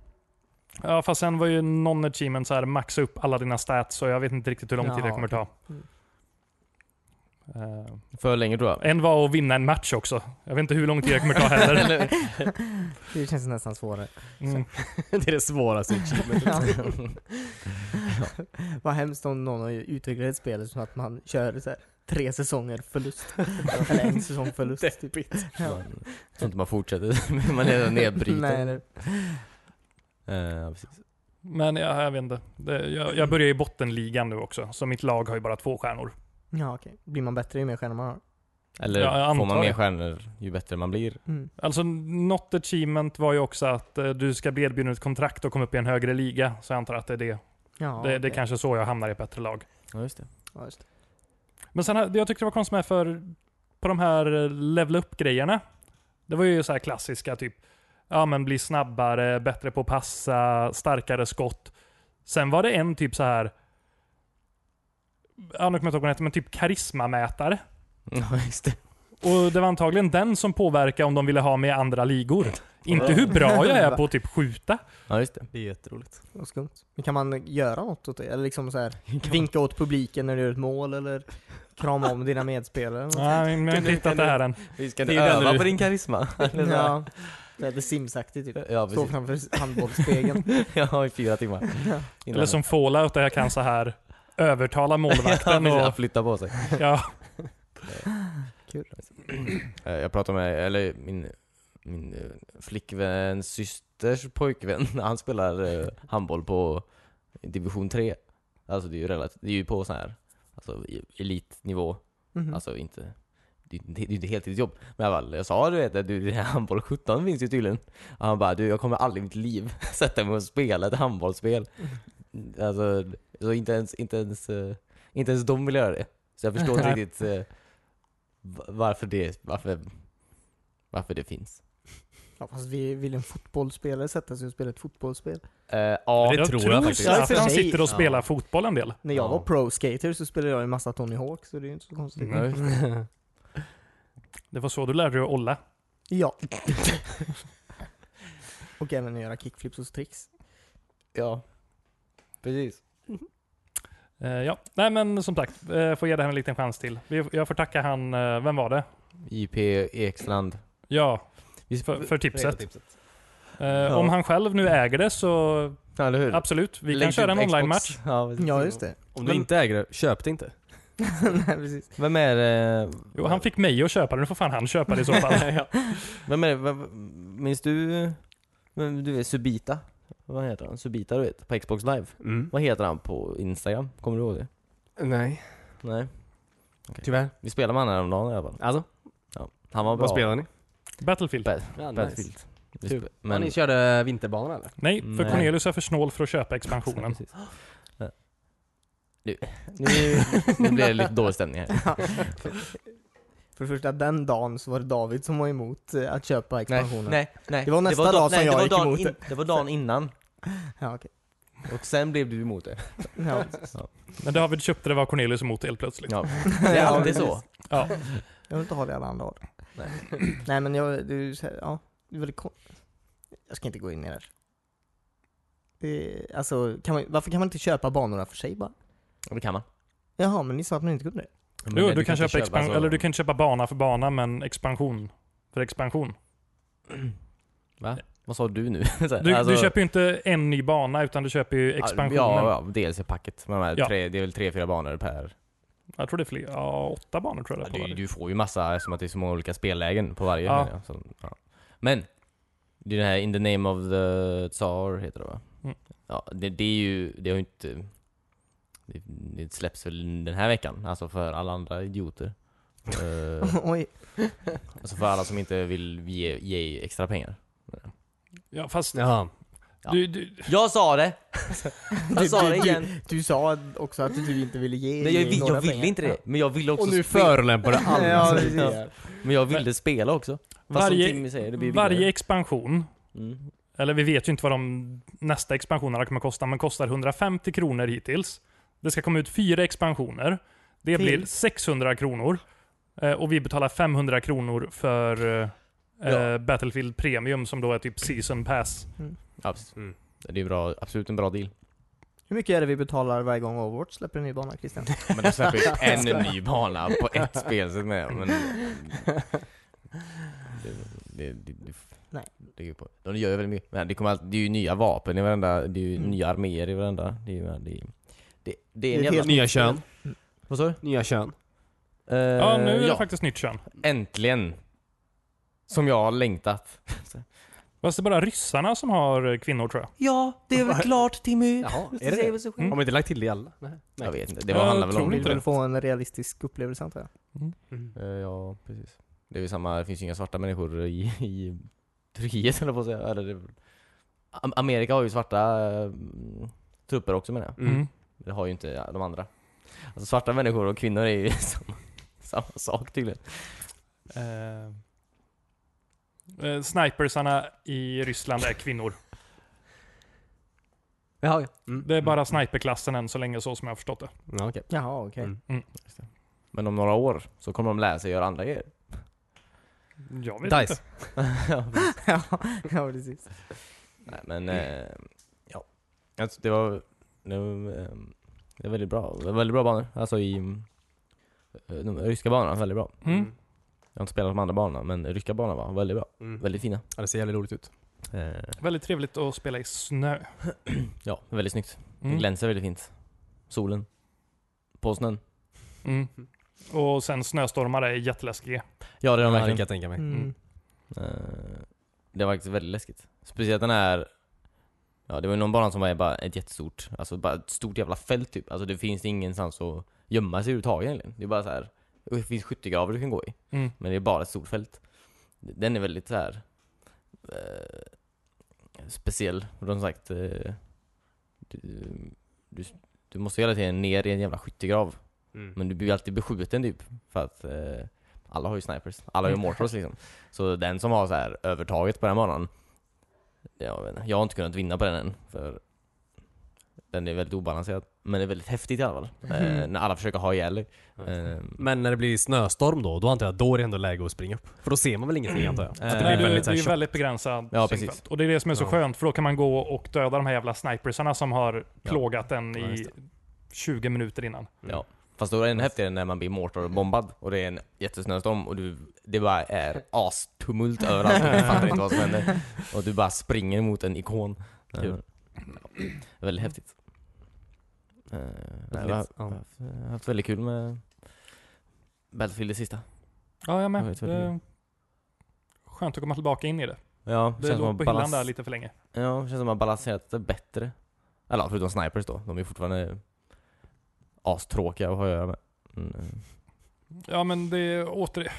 Speaker 1: Ja, fast sen var ju någon achievement så här maxa upp alla dina stats så jag vet inte riktigt hur lång tid det
Speaker 4: Ja,
Speaker 1: kommer ta.
Speaker 4: Mm.
Speaker 1: Eh,
Speaker 2: För länge tror jag.
Speaker 1: en var att vinna en match också. Jag vet inte hur lång tid det kommer ta heller.
Speaker 4: Det känns nästan svårare.
Speaker 1: Mm.
Speaker 3: det är det svåraste achievementet.
Speaker 4: Vad hemskt om någon har utvecklat ett spel så att man kör så här, tre säsonger förlust. Eller en säsong förlust. Typ. Ja.
Speaker 2: Man- Så inte man fortsätter, men man är redan nedbruten.
Speaker 4: Nej, eller-
Speaker 2: Eh, ja, precis.
Speaker 1: Men ja, jag vet inte. Det, jag, jag börjar i bottenligan nu också, så mitt lag har ju bara två stjärnor.
Speaker 4: Ja, okej. Blir man bättre ju mer stjärnor man har?
Speaker 2: Eller
Speaker 1: Ja, jag
Speaker 2: får man
Speaker 1: antar
Speaker 2: mer
Speaker 1: det.
Speaker 2: stjärnor ju bättre man blir.
Speaker 4: Mm.
Speaker 1: Alltså, något achievement var ju också att eh, du ska bli erbjuden ett kontrakt och komma upp i en högre liga. Så jag antar att det är det.
Speaker 4: Ja,
Speaker 1: det, det är
Speaker 4: okej.
Speaker 1: kanske så jag hamnar i ett bättre lag.
Speaker 2: Ja, just det.
Speaker 4: Ja, just det.
Speaker 1: Men sen, det jag tyckte det var konstigt med för på de här eh, level up-grejerna. Det var ju så här klassiska typ. Ja men bli snabbare, bättre på att passa, starkare skott. Sen var det en typ så här. Ja nu kommer jag inte ihåg vad den hette, men typ karismamätare.
Speaker 2: Ja, just det.
Speaker 1: Och det var antagligen den som påverkade om de ville ha mig i andra ligor. Inte hur bra jag är på att typ skjuta.
Speaker 2: Ja, just det.
Speaker 3: Det är jätteroligt.
Speaker 4: Vad skumt. Men kan man göra något åt det? Eller liksom så här, vinka åt publiken när du gör ett mål eller krama om dina medspelare? eller något?
Speaker 1: Nej, men jag har inte hittat det här än.
Speaker 2: Vi ska
Speaker 3: inte
Speaker 2: inte öva
Speaker 3: öva
Speaker 2: på din karisma.
Speaker 4: Ja. Det är The Sims-aktigt typ.
Speaker 2: Ja,
Speaker 4: Stå
Speaker 2: precis.
Speaker 4: framför handbollsspegeln.
Speaker 2: Ja, i fyra timmar. Innan-
Speaker 1: Eller som Fallout där jag kan så här övertala
Speaker 2: Ja,
Speaker 1: målvakten
Speaker 2: precis,
Speaker 1: och
Speaker 2: att flytta på sig.
Speaker 1: ja,
Speaker 2: Eh, Jag pratade med, eller min, min eh, flickväns systers pojkvän, han spelar eh, handboll på division 3. Alltså det är ju relativt, det är ju på sån här, alltså i- elitnivå.
Speaker 4: Mhm.
Speaker 2: Alltså inte, det är ju inte- det är ju inte heltidsjobb. Men jag, bara, jag sa du vet, att du, den här handboll 17 finns ju tydligen. Och han bara, du jag kommer aldrig i mitt liv sätta mig och spela ett handbollsspel. Alltså, så inte ens, inte ens, eh, inte ens de vill göra det. Så jag förstår inte riktigt eh, va- varför det, varför, varför det finns.
Speaker 4: Ja, fast vi vill en fotbollsspelare sätta sig och spela ett fotbollsspel?
Speaker 2: Eh, ja,
Speaker 1: jag
Speaker 3: tror
Speaker 1: tror,
Speaker 3: jag faktiskt.
Speaker 1: att
Speaker 4: Ja, i och
Speaker 1: han
Speaker 4: för sig.
Speaker 1: sitter och
Speaker 3: Ja.
Speaker 1: spelar fotboll en del.
Speaker 4: När jag
Speaker 2: Ja.
Speaker 4: var pro-skater så spelade jag en massa Tony Hawk, så det är ju inte så konstigt.
Speaker 1: Nej. Det var så du lärde dig att olla.
Speaker 4: Ja. och även göra kickflips och tricks.
Speaker 2: ja. Precis.
Speaker 1: Eh, ja. Nej men som sagt, eh, får ge det här en liten chans till. Vi- Jag får tacka han, eh, vem var det?
Speaker 2: JP Ekstrand.
Speaker 1: Ja,
Speaker 2: Vi-
Speaker 1: för, för tipset.
Speaker 3: tipset.
Speaker 1: Eh, Om han själv nu äger det så
Speaker 2: Ja, eller hur?
Speaker 1: absolut, vi
Speaker 2: Lägg
Speaker 1: kan
Speaker 2: till
Speaker 1: köra en
Speaker 2: Xbox.
Speaker 1: online-match.
Speaker 2: Ja, precis.
Speaker 4: Ja, just det.
Speaker 3: Om du inte äger det, köp det inte.
Speaker 4: Nej, precis.
Speaker 2: Vem är det?
Speaker 1: Jo, han fick mig att köpa det, nu får fan han köpa det i så fall.
Speaker 2: Vem är det? Vem, minns du? Vem, du vet Subita? Vad heter han? Subita du vet, på Xbox live.
Speaker 3: Mm.
Speaker 2: Vad heter han på Instagram? Kommer du ihåg det?
Speaker 3: Nej,
Speaker 2: Nej.
Speaker 3: tyvärr.
Speaker 2: Vi spelade med honom häromdagen i alla fall.
Speaker 3: Alltså,
Speaker 2: Han var bra.
Speaker 3: vad spelar ni?
Speaker 1: Battlefield.
Speaker 2: Ba-
Speaker 3: Ja,
Speaker 2: Battlefield. Vi
Speaker 3: Kul.
Speaker 2: spe-
Speaker 3: Men...
Speaker 2: men-
Speaker 3: ni körde vinterbanan eller?
Speaker 1: Nej, för
Speaker 2: Nej.
Speaker 1: Cornelius är för snål för att köpa expansionen.
Speaker 2: Precis. Ja. Nu, nu, nu blir det lite dålig stämning här.
Speaker 4: Ja. För För det första, den dagen så var det David som var emot eh, att köpa
Speaker 2: Nej,
Speaker 4: expansionen.
Speaker 2: nej, nej.
Speaker 4: Det var nästa dag som jag
Speaker 2: det var
Speaker 4: gick
Speaker 2: dagen
Speaker 4: emot
Speaker 2: in, Det var dagen innan.
Speaker 4: Ja, okej.
Speaker 2: Och sen blev du emot det.
Speaker 4: Ja.
Speaker 1: Men David köpte det var Cornelius emot helt plötsligt.
Speaker 2: Ja. Det är alltid så.
Speaker 1: Ja.
Speaker 4: Jag vill inte ha det alla andra har.
Speaker 2: Nej.
Speaker 4: Nej men jag, du, ja, det är väldigt kon- Jag ska inte gå in i det här. Det, är- alltså, kan man, varför kan man inte köpa banorna för sig bara?
Speaker 2: Och det kan man.
Speaker 4: Jaha, men ni sa att man inte kunde det.
Speaker 2: Men
Speaker 1: Jo,
Speaker 2: Mm. nej,
Speaker 1: du, kan
Speaker 2: inte alltså-
Speaker 1: köpa expansion,
Speaker 2: så-
Speaker 1: eller du kan köpa bana för bana, men expansion för expansion.
Speaker 2: Vad sa du nu? Alltså-
Speaker 1: Du, du köper ju inte en ny bana, utan du köper ju expansionen.
Speaker 2: Ja, ja DLC-packet. Med de här
Speaker 1: Ja.
Speaker 2: tre, det är väl tre, fyra banor per...
Speaker 1: Jag tror det är fler, ja, åtta banor tror jag det är på
Speaker 2: Du,
Speaker 1: varje.
Speaker 2: du får ju massa, som att det är så många olika spellägen på varje.
Speaker 1: Ja.
Speaker 2: menar jag. Så, ja. Men! Det är den här In the name of the Tsar, heter det va?
Speaker 1: Mm.
Speaker 2: Ja, det, det är ju, det har ju inte... Det, det släpps väl den här veckan, alltså för alla andra idioter. Eh,
Speaker 4: Oj.
Speaker 2: alltså för alla som inte vill ge, ge extra pengar.
Speaker 1: Ja, fast
Speaker 3: Ja.
Speaker 2: Ja.
Speaker 1: du, du,
Speaker 2: Jag sa det!
Speaker 4: Du-
Speaker 2: Jag sa det
Speaker 4: du-
Speaker 2: igen!
Speaker 4: Du sa också att du inte ville ge
Speaker 2: Nej, jag, vill,
Speaker 4: några
Speaker 2: jag ville
Speaker 4: pengar.
Speaker 2: inte det, men jag ville också
Speaker 3: Och nu
Speaker 2: spela.
Speaker 3: förolämpar du alla.
Speaker 4: Ja,
Speaker 2: precis.
Speaker 3: Mm.
Speaker 4: ja.
Speaker 2: Men jag ville spela också. Fast som
Speaker 1: varje,
Speaker 2: Timmy säger, det blir
Speaker 1: varje
Speaker 2: billigare.
Speaker 1: expansion,
Speaker 2: Mm.
Speaker 1: eller vi vet ju inte vad de nästa expansionerna kommer kosta, men kostar 150 kronor hittills. Det ska komma ut fyra expansioner. Det
Speaker 4: Till?
Speaker 1: blir 600 kronor. Eh, Och vi betalar 500 kronor för eh,
Speaker 2: Ja.
Speaker 1: eh, Battlefield Premium som då är typ Season Pass.
Speaker 2: Ja, precis.
Speaker 3: Mm.
Speaker 2: Det är bra, absolut en bra deal.
Speaker 4: Hur mycket är det vi betalar varje gång Overwatch släpper en ny bana, Christian?
Speaker 2: Men de släpper ju en ny bana på ett spel, så är med. Men det, det, det, det,
Speaker 4: Nej.
Speaker 2: det är ju på. De gör ju väldigt mycket. Men det, kommer alltid, det är ju nya vapen i varenda, det är ju
Speaker 4: Mm.
Speaker 2: nya arméer i varenda. Det är ju... Det, är- det, det är
Speaker 4: Det är
Speaker 2: en
Speaker 4: ett
Speaker 2: jävla...
Speaker 4: helt
Speaker 3: Nya kön.
Speaker 2: Vad sa du?
Speaker 3: Nya kön.
Speaker 2: Eh,
Speaker 1: Ja, nu är det faktiskt nytt kön.
Speaker 2: Äntligen! Som jag har längtat.
Speaker 1: Fast det är bara ryssarna som har eh, kvinnor tror jag.
Speaker 2: Ja, det är väl klart Timmy!
Speaker 3: Jaha, är det det?
Speaker 1: Mm.
Speaker 3: Har man inte lagt till det i alla? Nej.
Speaker 2: Jag vet inte, det var,
Speaker 1: Jag
Speaker 2: handlar väl
Speaker 1: tror
Speaker 2: om
Speaker 1: inte
Speaker 4: Vill
Speaker 1: det.
Speaker 4: väl få en realistisk upplevelse antar jag?
Speaker 2: Eh, Ja, precis. Det är ju samma, det finns ju inga svarta människor i, i Turkiet eller på att säga. Eller, det, Am- Amerika har ju svarta eh, trupper också menar jag.
Speaker 3: Mm.
Speaker 1: Mm.
Speaker 2: Det har ju inte ja, de andra. Alltså svarta människor och kvinnor är ju samma, samma sak tydligen.
Speaker 1: Eh, eh, snipersarna i Ryssland är kvinnor.
Speaker 3: Jaha, mm.
Speaker 1: Det är bara sniperklassen än så länge så som jag har förstått det.
Speaker 3: Ja, okej.
Speaker 4: Jaha, okej.
Speaker 3: Mm.
Speaker 2: Men om några år så kommer de lära sig göra andra grejer.
Speaker 1: Jag vet
Speaker 3: Dice.
Speaker 1: inte.
Speaker 2: Ja,
Speaker 4: ja, ja, precis.
Speaker 2: Nej men, eh, ja. Alltså, det var, det var, eh, det var väldigt bra. Det var väldigt bra banor. Alltså i, eh, de ryska banorna, väldigt bra.
Speaker 1: Mm.
Speaker 2: Jag har inte spelat de andra banorna, men ryska banorna var väldigt bra. Eh,
Speaker 3: Mm.
Speaker 2: Väldigt fina.
Speaker 3: Ja, det ser jävligt roligt ut.
Speaker 1: Väldigt trevligt att spela i snö.
Speaker 2: Ja, väldigt snyggt. Det
Speaker 1: Mm.
Speaker 2: glänser väldigt fint. Solen. På snön.
Speaker 1: Mm. Och sen snöstormar är jätteläskiga.
Speaker 2: Ja, det är de
Speaker 3: Ja, det kan
Speaker 2: verkligen.
Speaker 3: jag tänka mig.
Speaker 4: Mm.
Speaker 1: Mm.
Speaker 2: Eh, det var faktiskt väldigt läskigt. Speciellt den här... Ja, det var ju någon bana som var bara ett jättestort, alltså bara ett stort jävla fält typ. Alltså det finns ingenstans att gömma sig överhuvudtaget egentligen. Det är bara så här. och Det finns skyttegravar du kan gå i,
Speaker 1: Mm.
Speaker 2: men det är bara ett stort fält. Den är väldigt så här. Eh, speciell, och som sagt. Eh, du, du, du måste hela tiden ner i en jävla skyttegrav.
Speaker 3: Mm.
Speaker 2: Men du blir ju alltid beskjuten typ. För att eh, alla har ju snipers. Alla har ju mortars liksom. Så den som har så här övertaget på den banan. Jag, vet inte, jag har inte kunnat vinna på den än. För den är väldigt obalanserad. Men det är väldigt häftigt i alla fall. Eh, när alla försöker ha ihjäl dig. Eh,
Speaker 3: Men när det blir snöstorm då, då antar jag då är det ändå läge att springa upp. För då ser man väl ingenting antar jag?
Speaker 2: Eh,
Speaker 3: Att det
Speaker 1: Nej,
Speaker 3: blir
Speaker 1: du,
Speaker 3: väldigt
Speaker 1: det är
Speaker 3: såhär
Speaker 1: ju
Speaker 3: väldigt...
Speaker 1: väldigt begränsad
Speaker 2: Ja,
Speaker 1: synfält.
Speaker 2: precis.
Speaker 1: Och det är det som är så
Speaker 3: Ja.
Speaker 1: skönt, för då kan man gå och döda de här jävla snipersarna som har
Speaker 2: Ja.
Speaker 1: plågat en
Speaker 3: Ja,
Speaker 1: i
Speaker 3: just
Speaker 1: 20 minuter innan.
Speaker 2: ja. Fast då är det ännu häftigare när man blir mortarbombad och det är en jättesnöstorm och du, det bara är astumult överallt och du fattar inte vad som händer. Och du bara springer mot en ikon. Eh,
Speaker 3: Kul.
Speaker 2: ja. Väldigt häftigt. Eh, nej, jag har
Speaker 3: ja.
Speaker 2: haft- jag har haft väldigt kul med Battlefield det sista.
Speaker 1: Ja, jag
Speaker 2: Jag
Speaker 1: med.
Speaker 2: vet vad det
Speaker 1: Det-
Speaker 2: är.
Speaker 1: Skönt att komma tillbaka in i det.
Speaker 2: Ja,
Speaker 1: Det låg på hyllan där lite för länge.
Speaker 2: Ja, det känns som att man balanserat det bättre. Eller ja, förutom snipers då, de är fortfarande astråkiga att ha att göra med. Mm.
Speaker 1: Ja, men det är åter...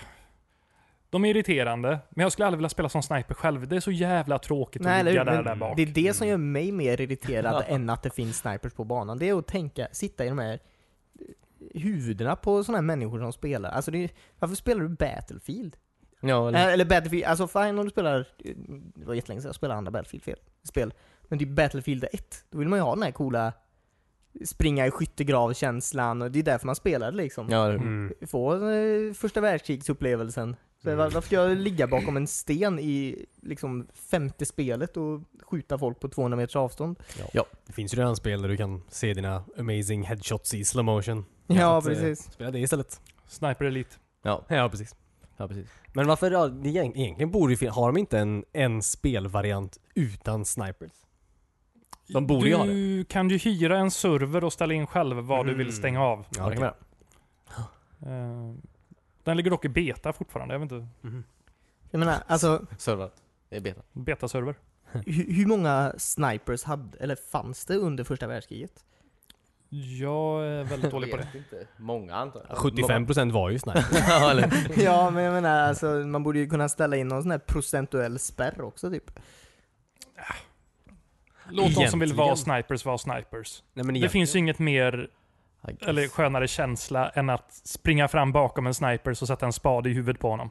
Speaker 1: De är irriterande, men jag skulle aldrig vilja spela som sniper själv. Det är så jävla tråkigt
Speaker 4: Nej,
Speaker 1: att
Speaker 4: eller
Speaker 1: ligga
Speaker 4: hur?
Speaker 1: där,
Speaker 4: Men
Speaker 1: där bak.
Speaker 4: Det är det som gör mig mer irriterad
Speaker 2: Ja.
Speaker 4: än att det finns snipers på banan. Det är att tänka, sitta i de här eh, huvudena på sådana här människor som spelar. Alltså det är, varför spelar du Battlefield?
Speaker 2: Ja, eller,
Speaker 4: Eller, eller Battlefield, alltså fine om du spelar, eh, det var jättelänge sedan jag spelade andra Battlefield-spel. Men typ Battlefield 1, då vill man ju ha den här coola springa i skyttegrav-känslan och det är därför man spelar det, liksom.
Speaker 2: ja det-
Speaker 3: Mm.
Speaker 4: Få eh, första världskrigsupplevelsen. Så
Speaker 3: Mm.
Speaker 4: var- Varför ska jag ligga bakom en sten i liksom femte spelet och skjuta folk på 200 meters avstånd?
Speaker 3: Det finns ju redan spel där du kan se dina amazing headshots i slow motion.
Speaker 4: Ja,
Speaker 3: Så att, eh,
Speaker 4: precis.
Speaker 3: Spela det istället.
Speaker 1: Sniper Elite.
Speaker 2: ja,
Speaker 3: Ja, precis.
Speaker 2: ja, precis.
Speaker 3: Men varför, ja, det egent- egentligen borde ju fin- har de inte en, en spelvariant utan snipers? De borde ju ha det.
Speaker 1: Du kan ju hyra en server och ställa in själv vad du
Speaker 3: Mm.
Speaker 1: vill stänga av.
Speaker 3: Ja, det kan man göra.
Speaker 1: Eh, Den ligger dock i beta fortfarande. Jag vet inte.
Speaker 3: Mm.
Speaker 4: Jag menar, alltså
Speaker 2: Servrar. Det är beta.
Speaker 1: Betaserver.
Speaker 4: hur, hur många snipers hade, eller fanns det under första världskriget?
Speaker 1: Jag är väldigt dålig på det.
Speaker 2: Vet Inte. Många antar jag.
Speaker 3: 75% var ju snipers.
Speaker 2: ja, eller,
Speaker 4: ja, men jag menar alltså man borde ju kunna ställa in någon sån här procentuell spärr också typ.
Speaker 1: Låt de som vill vara
Speaker 3: Egentligen.
Speaker 1: snipers vara snipers.
Speaker 3: Nej, men
Speaker 1: Det finns ju inget mer eller skönare känsla än att springa fram bakom en sniper och sätta en spade i huvudet på honom.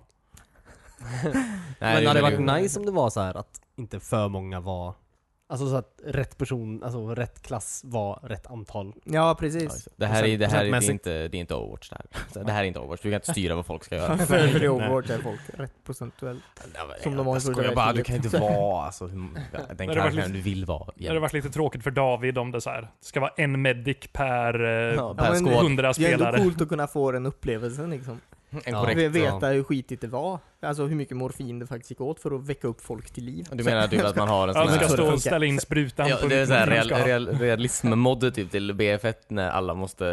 Speaker 2: Nej,
Speaker 3: men det hade
Speaker 2: är
Speaker 3: varit
Speaker 2: ju-
Speaker 3: nice om det var så här att inte för många var... Alltså så att rätt person, alltså rätt klass var rätt antal.
Speaker 4: Ja,
Speaker 2: Ja,
Speaker 4: precis.
Speaker 2: just det. Det här, är, det, här är, det, är
Speaker 3: Procentmässigt.
Speaker 2: inte, det är inte Overwatch det här. Alltså, Det här är inte Overwatch, du kan inte styra vad folk ska göra.
Speaker 4: För för det Overwatch är folk rätt procentuellt. Som de har i
Speaker 2: jag skojar
Speaker 4: första
Speaker 2: bara, du
Speaker 4: världskriget.
Speaker 2: kan inte vara alltså, hur- ja, den
Speaker 1: det varit
Speaker 2: karaktären du vill vara.
Speaker 1: Det hade
Speaker 2: jämt.
Speaker 1: varit lite tråkigt för David om det så här. Det ska vara en medic per
Speaker 2: Ja,
Speaker 1: eh,
Speaker 2: per
Speaker 4: men-
Speaker 2: skål.
Speaker 1: 100
Speaker 4: Det är ändå
Speaker 1: spelare.
Speaker 4: coolt att kunna få den upplevelsen liksom.
Speaker 2: En
Speaker 3: Ja.
Speaker 2: korrekt.
Speaker 4: Vi
Speaker 3: ja.
Speaker 4: veta hur skitigt det var. Alltså hur mycket morfin det faktiskt gick åt för att väcka upp folk till liv.
Speaker 2: Du menar typ att man har en sån
Speaker 1: Ja, du
Speaker 2: här...
Speaker 1: ska
Speaker 4: Så
Speaker 1: stå
Speaker 4: det
Speaker 1: och
Speaker 4: funkar.
Speaker 1: ställa in sprutan
Speaker 2: Ja,
Speaker 1: på
Speaker 2: det är såhär
Speaker 1: hur du ska
Speaker 2: real,
Speaker 1: ha.
Speaker 2: real, realism-modder typ till BF1 när alla måste...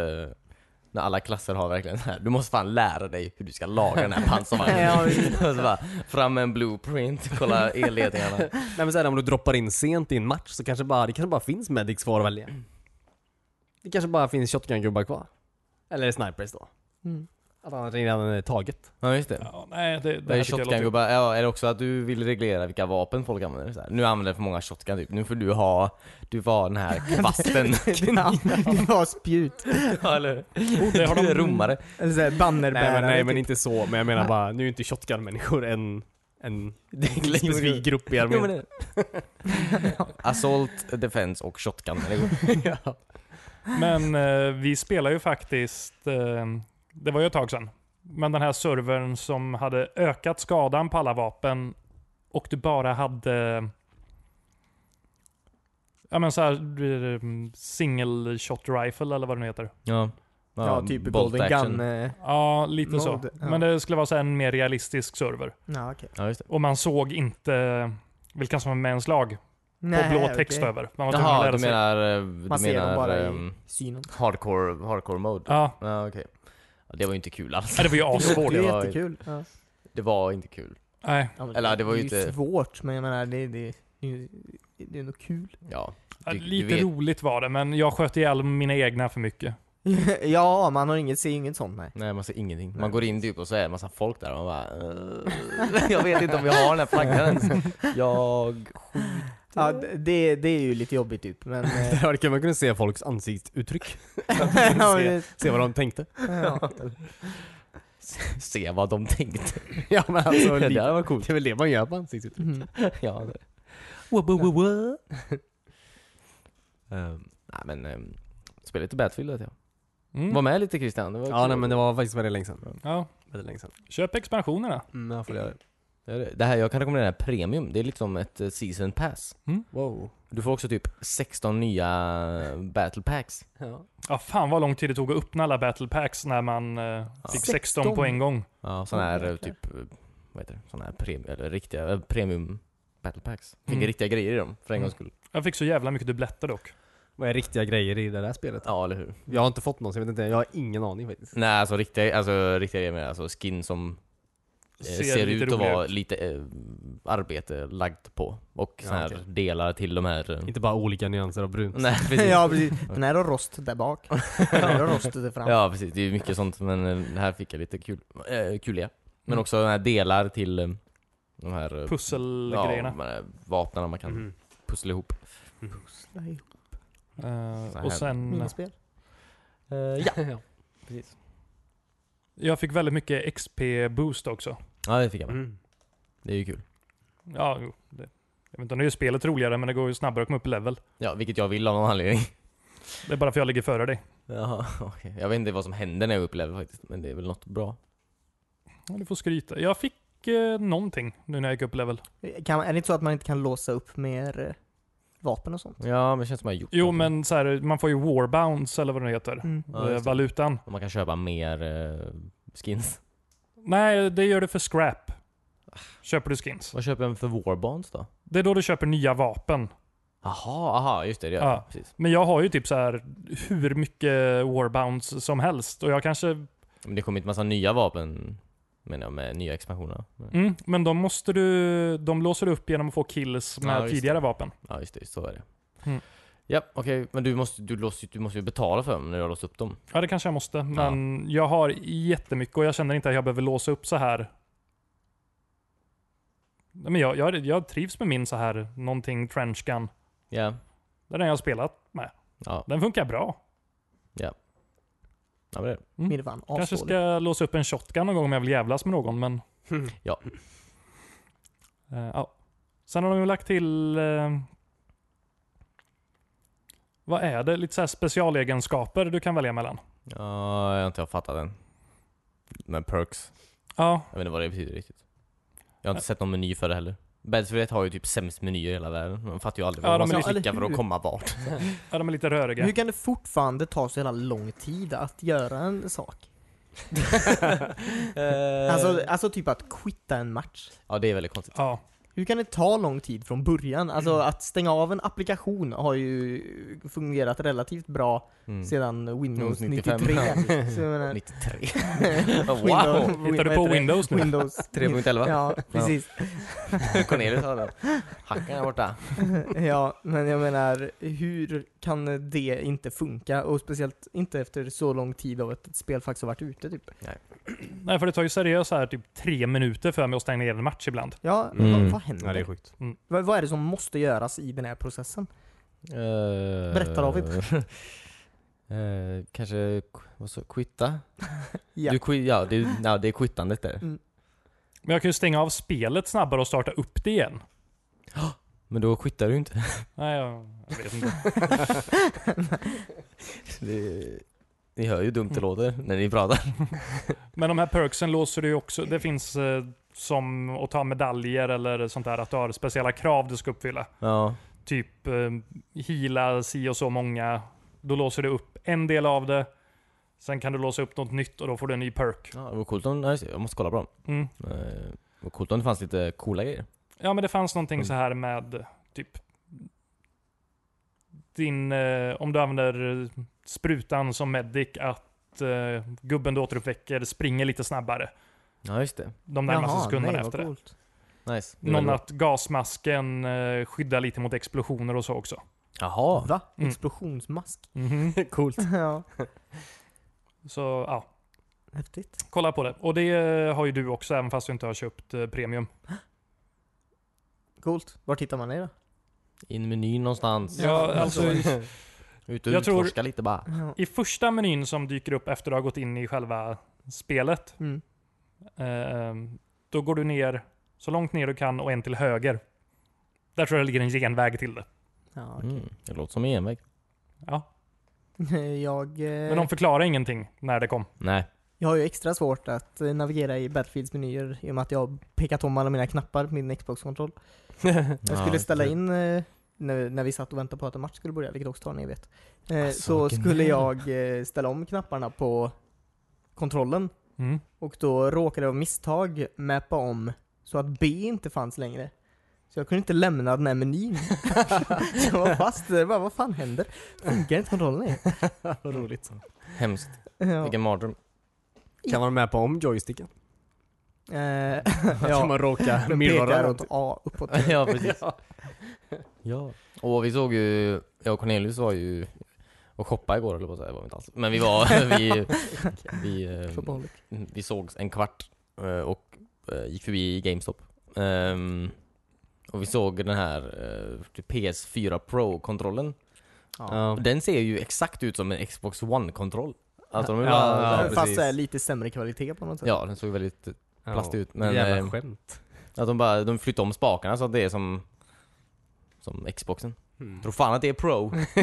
Speaker 2: När alla klasser har verkligen så här. du måste fan lära dig hur du ska laga den här
Speaker 4: Ja,
Speaker 2: pansarvagnen.
Speaker 4: visst.
Speaker 2: Och så bara, fram med en blueprint, kolla elledningarna.
Speaker 3: Nej men så här, om du droppar in sent i en match så kanske bara, det kanske bara finns medics kvar att välja. Det kanske bara finns shotgun-gubbar kvar. Eller snipers då.
Speaker 4: Mm.
Speaker 3: Att annars redan är taget.
Speaker 2: Ja just det.
Speaker 1: Ja, nej, det,
Speaker 2: Det
Speaker 1: det
Speaker 2: är
Speaker 1: här tycker jag låter
Speaker 2: shotgun-gubbar, ja, eller också att du vill reglera vilka vapen folk använder. Så här. Nu använder för många shotgun typ, nu får du ha, du får ha den här kvasten.
Speaker 4: Knall. Det var spjut.
Speaker 2: ja, eller
Speaker 1: Det har
Speaker 2: Du
Speaker 1: de-
Speaker 2: är romare.
Speaker 4: Eller såhär bannerbärare. typ.
Speaker 3: inte så. Men jag menar bara, nu är inte shotgun-människor en, en
Speaker 2: specifik
Speaker 3: grupp i
Speaker 2: Jo, men det- Assault, defense och shotgun. eller hur?
Speaker 1: Men eh, vi spelar ju faktiskt, eh, det var ju ett tag sedan, men den här servern som hade ökat skadan på alla vapen och du bara hade Ja men såhär, single shot rifle eller vad det nu heter.
Speaker 2: Ja.
Speaker 4: Ja, typ
Speaker 2: bolt
Speaker 4: Golden
Speaker 2: action.
Speaker 4: Gun. eh,
Speaker 1: Ja, lite så.
Speaker 4: Mode, ja.
Speaker 1: Men det skulle vara så här en mer realistisk server.
Speaker 4: Ja, okej.
Speaker 2: Ja, just det.
Speaker 1: Och man såg inte vilka som var med ens lag på
Speaker 4: Nej,
Speaker 1: blå
Speaker 4: okej.
Speaker 1: text över. Man var tvungen att
Speaker 2: Jaha,
Speaker 1: lära
Speaker 2: du
Speaker 1: sig.
Speaker 2: menar, eh, du
Speaker 4: Man ser dem
Speaker 2: menar
Speaker 4: bara i
Speaker 2: ehm,
Speaker 4: synen.
Speaker 2: hardcore, hardcore mode? Ja,
Speaker 1: Ja,
Speaker 2: okej. Ja, det var ju inte kul alls.
Speaker 1: nej, det var ju assvårt.
Speaker 4: Det är
Speaker 2: det var-
Speaker 4: jättekul. Ja.
Speaker 2: Det var inte kul.
Speaker 1: Nej,
Speaker 4: Ja, men
Speaker 2: Eller, det var ju
Speaker 4: är
Speaker 2: inte-
Speaker 4: svårt, men jag menar det, det, det, är ju- det är nog kul.
Speaker 2: Ja.
Speaker 1: Ja,
Speaker 2: Du- du
Speaker 1: Lite
Speaker 2: vet-
Speaker 1: roligt var det, men jag sköt ihjäl mina egna för mycket.
Speaker 4: ja, man har inget, ser inget sånt nej.
Speaker 2: Nej man ser ingenting. Man går in typ och så är det en massa folk där och man bara eh, Jag vet inte om jag har den här flaggan ens. Jag...
Speaker 4: Ja, d- det, det är ju lite jobbigt typ, men...
Speaker 3: Det
Speaker 4: eh,
Speaker 3: hade varit kul om man kunde se folks ansiktsuttryck.
Speaker 4: ja, men
Speaker 3: se,
Speaker 4: det-
Speaker 3: se vad de tänkte.
Speaker 4: ja.
Speaker 2: Se vad de tänkte.
Speaker 3: ja men alltså,
Speaker 2: Det hade
Speaker 3: lite,
Speaker 2: varit coolt.
Speaker 3: det är väl det man gör på ansiktsuttryck.
Speaker 4: Mm.
Speaker 2: Ja, det. Ehm, nej men, ehm, spela lite Battlefield vet jag.
Speaker 1: Mm.
Speaker 2: Var med lite Christian, det var
Speaker 3: Ja
Speaker 2: kul.
Speaker 3: nej, men det var faktiskt väldigt länge sedan.
Speaker 1: Ja,
Speaker 3: Väldigt länge sedan.
Speaker 1: köp expansionerna.
Speaker 3: Mm, jag får göra det.
Speaker 2: Det är det. Det här, jag kan rekommendera det här Premium, det är lite som ett eh, Season Pass.
Speaker 3: Wow.
Speaker 2: Du får också typ 16 nya eh, battle packs.
Speaker 3: Ja.
Speaker 1: Ja, fan vad lång tid det tog att öppna alla battle packs när man eh, fick 16.
Speaker 4: 16.
Speaker 1: på en gång.
Speaker 2: Ja, sådana här eh,
Speaker 4: jäklar.
Speaker 2: typ, eh, vad heter det? Sådana här premium, eller riktiga, eh, premium battle packs. Fick
Speaker 1: Mm.
Speaker 2: riktiga grejer i dem, för en
Speaker 1: Mm.
Speaker 2: gångs skull.
Speaker 1: Jag fick så jävla mycket dubbletter dock.
Speaker 2: Eh,
Speaker 3: Vad är riktiga grejer i det där spelet?
Speaker 2: Ja, eller hur?
Speaker 3: Jag har inte fått någon så jag vet inte, jag har ingen aning faktiskt.
Speaker 2: Nej, alltså riktiga, alltså riktiga grejer med alltså skin som eh, ser,
Speaker 1: lite
Speaker 2: ut att
Speaker 1: roligare
Speaker 2: vara lite eh, arbete lagt på. Och
Speaker 3: Ja,
Speaker 2: såna här
Speaker 3: okej.
Speaker 2: delar till de här... eh,
Speaker 3: Mm. Inte bara olika nyanser av brunt.
Speaker 2: Nej, precis.
Speaker 4: ja, precis. Den här har rost där bak. Den här har rost där fram.
Speaker 2: Ja precis, det är ju mycket sånt men eh, det här fick jag lite kul, äh, kuliga. Men
Speaker 1: Mm.
Speaker 2: också den här delar till eh, de här eh,
Speaker 1: Pusselgrejerna.
Speaker 2: Ja, de här vapnen man kan
Speaker 3: Mhm.
Speaker 2: pussla ihop.
Speaker 4: Nej,
Speaker 1: Eh,
Speaker 2: Så här.
Speaker 4: Mm.
Speaker 1: och sen...
Speaker 4: Minispel.
Speaker 2: ja.
Speaker 3: Eh, ja. precis.
Speaker 1: Jag fick väldigt mycket XP-boost också.
Speaker 2: Ja, det fick jag med.
Speaker 3: Mm.
Speaker 2: Det är ju kul.
Speaker 1: Ja, jo, det. Jag vet inte om det gör spelet roligare, men det går ju snabbare att komma upp i level.
Speaker 2: Ja, vilket jag vill av någon anledning.
Speaker 1: Det är bara för att jag ligger före dig.
Speaker 2: Jaha, okej. Jag vet inte vad som händer när jag upplever faktiskt, men det är väl något bra.
Speaker 1: Ja, Du får skryta. Jag fick eh, någonting nu när jag gick upp i level.
Speaker 4: Kan, man- är det inte så att man inte kan låsa upp mer eh, vapen och sånt?
Speaker 2: Ja, men det känns som att jag har gjort
Speaker 1: Jo,
Speaker 2: någonting.
Speaker 1: men så här, man får ju warbounds eller vad det heter.
Speaker 4: Mm.
Speaker 2: Ja,
Speaker 1: eh,
Speaker 2: just det.
Speaker 1: valutan.
Speaker 2: Och man kan köpa mer eh, skins.
Speaker 1: Nej, det gör det för scrap. Köper du skins.
Speaker 2: Vad köper en för Warbonds då?
Speaker 1: Det är då du köper nya vapen.
Speaker 2: Aha, aha, just det. det gör
Speaker 1: Ja.
Speaker 2: jag. Precis.
Speaker 1: Men jag har ju typ så här hur mycket warbounds som helst. Och jag kanske...
Speaker 2: Men det kommer inte massa nya vapen, menar jag, med nya expansioner. Men-
Speaker 1: Mm, men de måste du... De låser du upp genom att få kills
Speaker 2: Ja,
Speaker 1: med
Speaker 2: just det.
Speaker 1: tidigare vapen.
Speaker 2: Ja, just det. Så är det.
Speaker 1: Mm.
Speaker 2: Ja, okej. Men du måste, du, låser, ju- du måste ju betala för dem när du har låst upp dem.
Speaker 1: Ja, det kanske jag måste. Men jag har jättemycket och jag känner inte att jag behöver låsa upp så här. Nej, Men jag, jag, jag trivs med min så här någonting trench gun.
Speaker 2: Ja.
Speaker 1: Det är den jag har spelat med.
Speaker 2: Ja,
Speaker 1: Den funkar bra.
Speaker 2: ja men det är det.
Speaker 4: Mirvan,
Speaker 1: Kanske
Speaker 4: asdålig.
Speaker 1: ska låsa upp en shotgun någon gång om jag vill jävlas med någon, men...
Speaker 2: Mm. Ja.
Speaker 1: Eh, ja. Sen har de ju lagt till... eh, vad är det? Lite så här specialegenskaper du kan välja mellan.
Speaker 2: Ja, jag har inte fattat den. Men perks.
Speaker 1: Ja,
Speaker 2: Jag vet inte vad det betyder riktigt. Jag har inte sett någon meny för det heller. Battlefield har ju typ sämst menyer i hela världen. Man fattar ju aldrig
Speaker 1: Ja,
Speaker 2: vad
Speaker 1: de
Speaker 2: man
Speaker 1: är
Speaker 2: ska
Speaker 4: lite-
Speaker 2: klicka för att
Speaker 4: eller
Speaker 2: komma vart.
Speaker 1: ja, de är lite röriga.
Speaker 4: Hur kan det fortfarande ta så jävla lång tid att göra en sak? Alltså, alltså typ att quitta en match.
Speaker 2: Eh, ja, det är väldigt konstigt.
Speaker 1: Ja.
Speaker 4: Hur kan det ta lång tid från början? Alltså att stänga av en applikation har ju fungerat relativt bra
Speaker 2: Mm.
Speaker 4: sedan Windows
Speaker 2: Windows 95.
Speaker 4: 93. Så jag menar,
Speaker 2: 93. wow!
Speaker 4: Windows-
Speaker 1: Hittar du
Speaker 4: Mm, vad
Speaker 1: på
Speaker 4: heter det?
Speaker 1: Windows nu?
Speaker 4: Windows
Speaker 2: 3.11.
Speaker 4: Ja, precis.
Speaker 2: Cornelius har den. Hacken är borta.
Speaker 4: Ja, men jag menar, hur kan det inte funka? Och speciellt inte efter så lång tid av att ett spel faktiskt har varit ute typ.
Speaker 1: Nej, för det tar ju seriöst så här typ tre minuter för mig att stänga ner en match ibland.
Speaker 4: Ja,
Speaker 2: Mm.
Speaker 4: vad, vad händer?
Speaker 3: Ja, det är sjukt.
Speaker 4: vad, vad är det som måste göras i den här processen?
Speaker 2: Berätta
Speaker 4: David.
Speaker 2: Eh, kanske, k- vad så, quitta?
Speaker 4: Ja.
Speaker 2: Du, qui- ja, det, är- ja, det är quittandet där.
Speaker 1: Men jag kan ju stänga av spelet snabbare och starta upp det igen.
Speaker 2: Men då quittar du inte.
Speaker 1: Nej, jag, jag vet inte.
Speaker 2: Det, ni hör ju hur dumt det låter när ni pratar.
Speaker 1: Men de här perksen låser du ju också. Det finns eh, som att ta medaljer eller sånt där. Att du har speciella krav du ska uppfylla.
Speaker 2: Ja,
Speaker 1: typ eh, heala si och så många. Då låser du upp en del av det. Sen kan du låsa upp något nytt och då får du en ny perk.
Speaker 2: ja det var coolt om, ja, just det, jag måste kolla på dem.
Speaker 1: Mm.
Speaker 2: Eh, det var coolt om det fanns lite coola grejer.
Speaker 1: Ja men det fanns någonting
Speaker 2: Mm.
Speaker 1: så här med typ din, eh, om du använder eh, sprutan som medic att eh, gubben du återuppväcker springer lite snabbare
Speaker 2: Ja, just det.
Speaker 1: de närmaste sekunderna
Speaker 4: nej, vad
Speaker 1: efter det.
Speaker 4: coolt.
Speaker 2: Nice. Det är
Speaker 1: Någon
Speaker 2: väldigt
Speaker 1: att gasmasken eh, skyddar lite mot explosioner och så också.
Speaker 2: bra. Jaha.
Speaker 4: Va?
Speaker 1: Mm.
Speaker 4: Explosionsmask?
Speaker 2: Mhm.
Speaker 3: Coolt.
Speaker 4: ja,
Speaker 1: Så ja,
Speaker 4: häftigt.
Speaker 1: kolla på det. Och det eh, har ju du också även fast du inte har köpt eh, premium.
Speaker 4: Coolt. Var tittar man det då?
Speaker 2: In i menyn någonstans.
Speaker 1: Ja, alltså,
Speaker 2: Ut och
Speaker 1: jag tror-
Speaker 2: utforska lite bara.
Speaker 4: Ja.
Speaker 1: I första menyn som dyker upp efter du har gått in i själva spelet,
Speaker 4: Mm.
Speaker 1: eh, då går du ner så långt ner du kan och en till höger. Där tror jag det ligger en genväg till det.
Speaker 4: Ja, okej.
Speaker 2: Mm, det låter som en genväg.
Speaker 1: Ja.
Speaker 4: Jag, eh,
Speaker 1: Men de förklarar ingenting när det kom.
Speaker 2: Nej.
Speaker 4: jag har ju extra svårt att eh, navigera i Battlefields menyer i och med att jag har pekat om alla mina knappar på min Xbox-kontroll. Jag skulle ställa in, eh, när, när vi satt och väntade på att en match skulle börja, vilket också tar en evighet. Eh,
Speaker 2: Alltså,
Speaker 4: så
Speaker 2: vilken
Speaker 4: skulle
Speaker 2: nerv.
Speaker 4: jag eh, ställa om knapparna på kontrollen
Speaker 1: Mm.
Speaker 4: och då råkade jag av misstag mappa om så att B inte fanns längre. Så jag kunde inte lämna den här menyn. jag var fast där, bara vad fan händer? Funkar inte kontrollen längre?
Speaker 3: Vad roligt.
Speaker 2: Hemskt.
Speaker 4: Ja.
Speaker 2: Vilken mardröm.
Speaker 3: Kan man med på om joysticken?
Speaker 4: Eh,
Speaker 3: Kan
Speaker 4: ja.
Speaker 3: man råka
Speaker 4: Den
Speaker 3: mirrora
Speaker 4: pekar
Speaker 3: runt?
Speaker 4: åt A uppåt.
Speaker 2: ja, precis. ja. Och vi såg ju, jag och Cornelius var ju och shoppade igår eller på att säga, det var vi inte alls. Men vi var, vi, vi, eh,
Speaker 4: Shopaholic.
Speaker 2: vi sågs en kvart eh, och eh, gick förbi GameStop. Ehm, och vi såg den här eh, PS4 Pro-kontrollen.
Speaker 4: Ja.
Speaker 2: Den ser ju exakt ut som en Xbox One-kontroll. Att de är
Speaker 3: Ja,
Speaker 2: bland,
Speaker 3: ja,
Speaker 2: precis.
Speaker 4: Fast det är lite sämre kvalitet på något sätt.
Speaker 2: Ja, den såg väldigt plast ut, men,
Speaker 3: Jävla
Speaker 2: eh,
Speaker 3: skämt.
Speaker 2: Att de bara, de flyttar om spakarna så att det är som Som Xboxen
Speaker 3: Mm.
Speaker 2: Tror fan att det är pro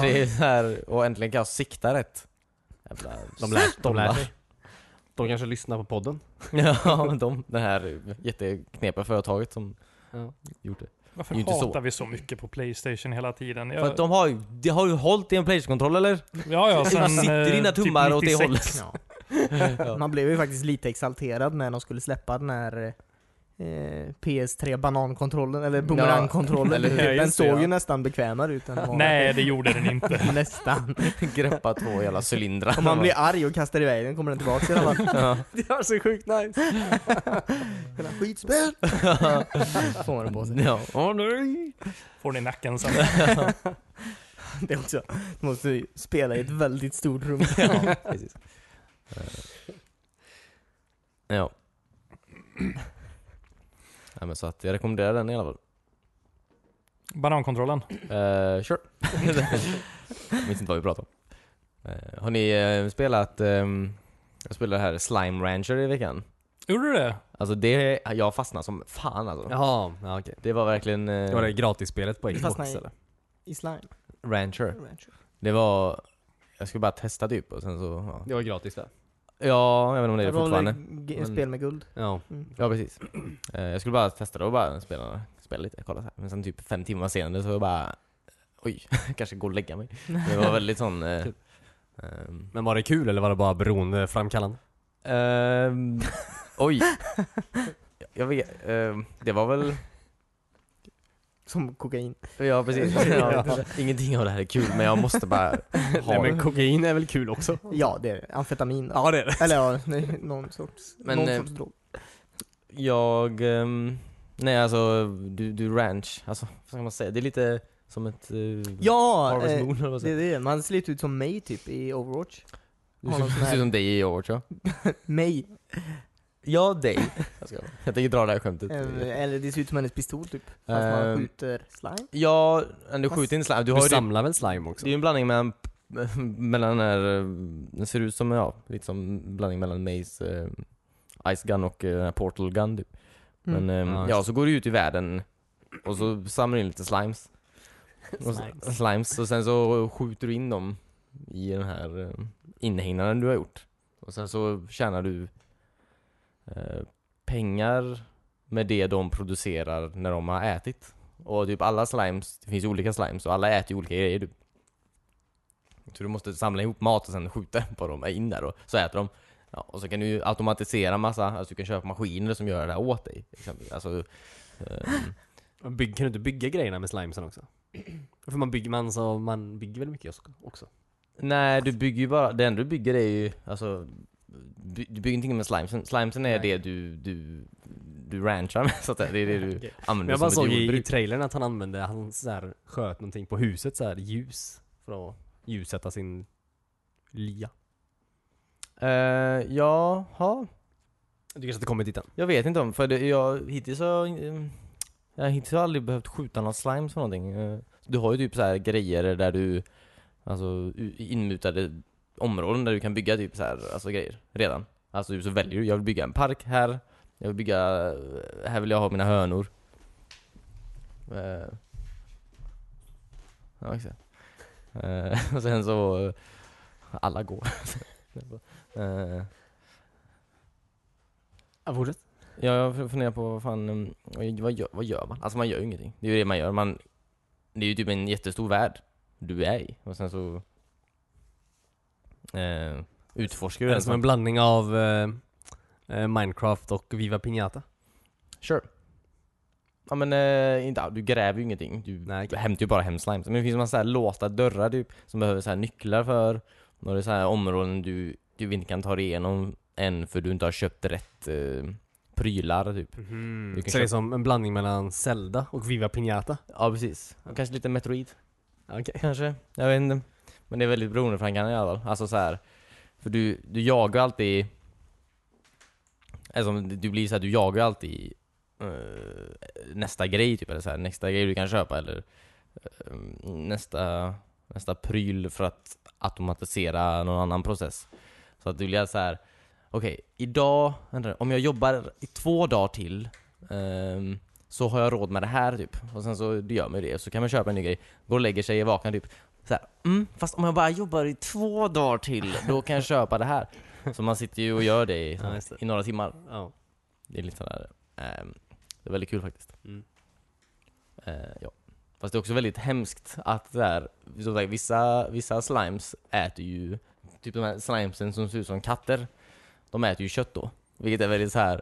Speaker 2: Det är så här, och äntligen kan jag sikta rätt Jävla
Speaker 3: De lär, de lär
Speaker 2: stollar.
Speaker 3: sig. De kanske lyssnar på podden.
Speaker 2: Ja, men de, det här jätteknepiga företaget som
Speaker 3: Ja.
Speaker 2: gjort det
Speaker 1: Varför
Speaker 2: Det är inte
Speaker 1: hatar
Speaker 2: så.
Speaker 1: vi så mycket på Playstation hela tiden? Jag,
Speaker 2: För att de har ju, de har ju hållit i en Playstation-kontroll eller?
Speaker 1: ja, ja,
Speaker 2: Det
Speaker 1: sen,
Speaker 2: sitter
Speaker 1: eh,
Speaker 2: dina tummar
Speaker 1: typ
Speaker 2: åt det
Speaker 1: 96.
Speaker 2: hållet.
Speaker 4: Ja. Man blev ju faktiskt lite exalterad när de skulle släppa den här eh, PS3 banankontrollen, eller boomerangkontrollen. Typ,
Speaker 2: Ja, eller hur?
Speaker 4: den
Speaker 3: Just det,
Speaker 4: såg
Speaker 3: ja.
Speaker 4: ju nästan bekvämare ut än vad-
Speaker 1: Nej, det gjorde den inte.
Speaker 4: Nästan.
Speaker 2: Greppa två jävla cylindrar
Speaker 4: Om man blir arg och kastar iväg den kommer den tillbaka i alla fall.
Speaker 2: ja.
Speaker 3: Det var så sjukt nice.
Speaker 4: Hela Skitspel! Får man den på sig.
Speaker 2: ja. Åh nej!
Speaker 1: Får ni nacken sen.
Speaker 4: Det också. Du måste ju spela i ett väldigt stort rum.
Speaker 2: Ja, precis. Eh, Ja. Nej men så att jag rekommenderar den i alla fall.
Speaker 1: Banankontrollen.
Speaker 2: Uh, sure. jag minns inte vad vi pratade om. Eh, har ni eh, spelat, ehm, jag spelade här Slime Rancher i veckan.
Speaker 1: Gjorde du det?
Speaker 2: Alltså det, jag fastnade som fan alltså.
Speaker 3: Jaha, ja, okej.
Speaker 2: Det var verkligen... eh,
Speaker 3: Det var det gratisspelet på
Speaker 4: Det
Speaker 3: Xbox
Speaker 4: fastnar i-
Speaker 3: eller?
Speaker 4: I slime.
Speaker 2: Rancher. Det var, jag skulle bara testa typ och sen så, ja.
Speaker 3: Det var gratis där.
Speaker 2: Ja, jag vet inte om det är det
Speaker 4: var
Speaker 2: fortfarande.
Speaker 4: väl g-
Speaker 2: Men-
Speaker 4: spel med guld.
Speaker 3: Ja.
Speaker 2: Ja precis. Eh, jag skulle bara testa det och bara spela, spela lite, kolla så här. Men sen typ fem timmar senare så var jag bara Oj, kanske gå och lägga mig. Det var väldigt sån... Eh,
Speaker 3: Typ.
Speaker 2: ehm,
Speaker 3: Men var det kul eller var det bara beroendeframkallande?
Speaker 2: ehm, oj. Jag vet, ehm, det var väl...
Speaker 4: Som kokain.
Speaker 2: Ja precis. Ja. Ingenting av det här är kul men jag måste bara ha det.
Speaker 3: kokain är väl kul också?
Speaker 4: Ja, det är det. Amfetamin.
Speaker 3: Ja det är det.
Speaker 4: Eller ja, nej, någon sorts,
Speaker 2: Men,
Speaker 4: någon
Speaker 2: eh,
Speaker 4: sorts drog.
Speaker 2: Jag... ehm, nej alltså, du, du ranch. Alltså, vad ska man säga? Det är lite som ett... eh,
Speaker 4: Ja!
Speaker 2: Harvest
Speaker 4: Eh,
Speaker 2: Moon eller vad
Speaker 4: det
Speaker 2: säger
Speaker 4: är det. Man ser lite ut som mig typ i Overwatch.
Speaker 2: Du
Speaker 4: har någon sån
Speaker 2: ser- ser ut
Speaker 4: här,
Speaker 2: som dig i år tror jag.
Speaker 4: mig.
Speaker 2: Ja, dig. Jag, ska, jag tänker dra det här skämtet.
Speaker 4: Eh, Eller det ser ut som hennes pistol typ. Fast
Speaker 2: Eh,
Speaker 4: man skjuter slime.
Speaker 2: Ja, men du
Speaker 4: Fast-
Speaker 2: skjuter in slime. Du
Speaker 3: Du,
Speaker 2: har ju det,
Speaker 3: samlar väl slime
Speaker 2: det
Speaker 3: också?
Speaker 2: är ju en blandning mellan, mellan den här, eh, den ser ut som, ja, lite som en blandning mellan Maze, eh, Ice Gun och eh, den här Portal Gun typ. Men
Speaker 4: Mm.
Speaker 2: eh,
Speaker 3: Ja,
Speaker 2: ja,
Speaker 3: just
Speaker 2: så går du ut i världen och så samlar du in lite slimes. Och, slimes. slimes. Och sen så skjuter du in dem i den här eh, inhägnaden du har gjort. Och sen så tjänar du eh, pengar med det de producerar när de har ätit. Och typ alla slimes, det finns ju olika slimes och alla äter ju olika grejer. Du. Så du måste samla ihop mat och sen skjuta på dem, eh, in där och så äter de. Ja, och så kan du ju automatisera massa, alltså du kan köpa maskiner som gör det här åt dig. Exempelvis. Alltså, ehm,
Speaker 3: Bygg, kan du inte bygga grejerna med slimesen också? För man bygger, man, så, man bygger väl mycket också?
Speaker 2: nej, du bygger ju bara, det enda du bygger är ju, alltså, by, du bygger ingenting med slimesen. Slimesen är
Speaker 3: Nej.
Speaker 2: det du, du, du ranchar med, så att säga. Det är det du
Speaker 3: Okej. Men
Speaker 2: använder
Speaker 3: jag bara
Speaker 2: som
Speaker 3: såg
Speaker 2: ett
Speaker 3: i, i
Speaker 2: jordbruk.
Speaker 3: trailern att han använde, han så här, sköt någonting på huset så här ljus för att ljussätta sin lya.
Speaker 2: Uh,
Speaker 3: Eh,
Speaker 2: ja, ha.
Speaker 3: Du kanske inte kommer dit än?
Speaker 2: jag vet inte om, för det, jag, hittills har ehm, jag har hittills aldrig behövt skjuta någon slimes för någonting. Eh, Du har ju typ så här grejer där du, alltså u- inmutade områden där du kan bygga typ så här, alltså grejer redan. Alltså du så väljer du, jag vill bygga en park här, jag vill bygga, eh, här vill jag ha mina hönor. Eh, Ja, exakt. Eh, Och sen så, alla går. Eh,
Speaker 3: Ja, fortsätt.
Speaker 2: Ja, jag funderar på vad fan, um, vad- vad gör, vad gör man? Alltså man gör ju ingenting. Det är ju det man gör. Man, det är ju typ en jättestor värld du är i. Och sen så eh, utforskar
Speaker 3: Är
Speaker 2: du den.
Speaker 3: det som en blandning av eh, eh, Minecraft och Viva Piñata?
Speaker 2: Sure. Ja men eh, inte, du gräver ju ingenting. Du
Speaker 3: Nej, okej.
Speaker 2: hämtar ju bara hem slime. Men det finns en massa här låsta dörrar typ, som behöver så här nycklar för. Och det är så här områden du, du inte kan ta dig igenom än för du inte har köpt rätt eh, prylar typ. Du kan
Speaker 3: Mhm. Så det är
Speaker 2: köpa-
Speaker 3: som en blandning mellan Zelda och Viva Piñata?
Speaker 2: Ja precis. Och kanske lite metroid.
Speaker 3: Okej.
Speaker 2: Kanske, jag vet inte. Men det är väldigt beroendeframkallande i alla fall. Alltså så här, för du, du jagar alltid... Alltså, du blir så här, du jagar alltid eh, nästa grej typ, eller så här, nästa grej du kan köpa eller eh, nästa, nästa pryl för att automatisera någon annan process. Så att du blir så här. okej, idag, vänta nu, om jag jobbar i två dagar till ehm, så har jag råd med det här typ. Och sen så gör man ju det, så kan man köpa en ny grej. Går och lägger sig, är vaken typ. Så här, mm, fast om jag bara jobbar i två dagar till, då kan jag köpa det här. Så man sitter ju och gör det i,
Speaker 3: Ja, just det.
Speaker 2: i några timmar.
Speaker 3: Ja.
Speaker 2: Det är lite sådär, ehm, det är väldigt kul faktiskt.
Speaker 3: Mm.
Speaker 2: Eh, ja. Fast det är också väldigt hemskt att där, som sagt, vissa, vissa slimes äter ju, typ de här slimesen som ser ut som katter, de äter ju kött då. Vilket är väldigt så här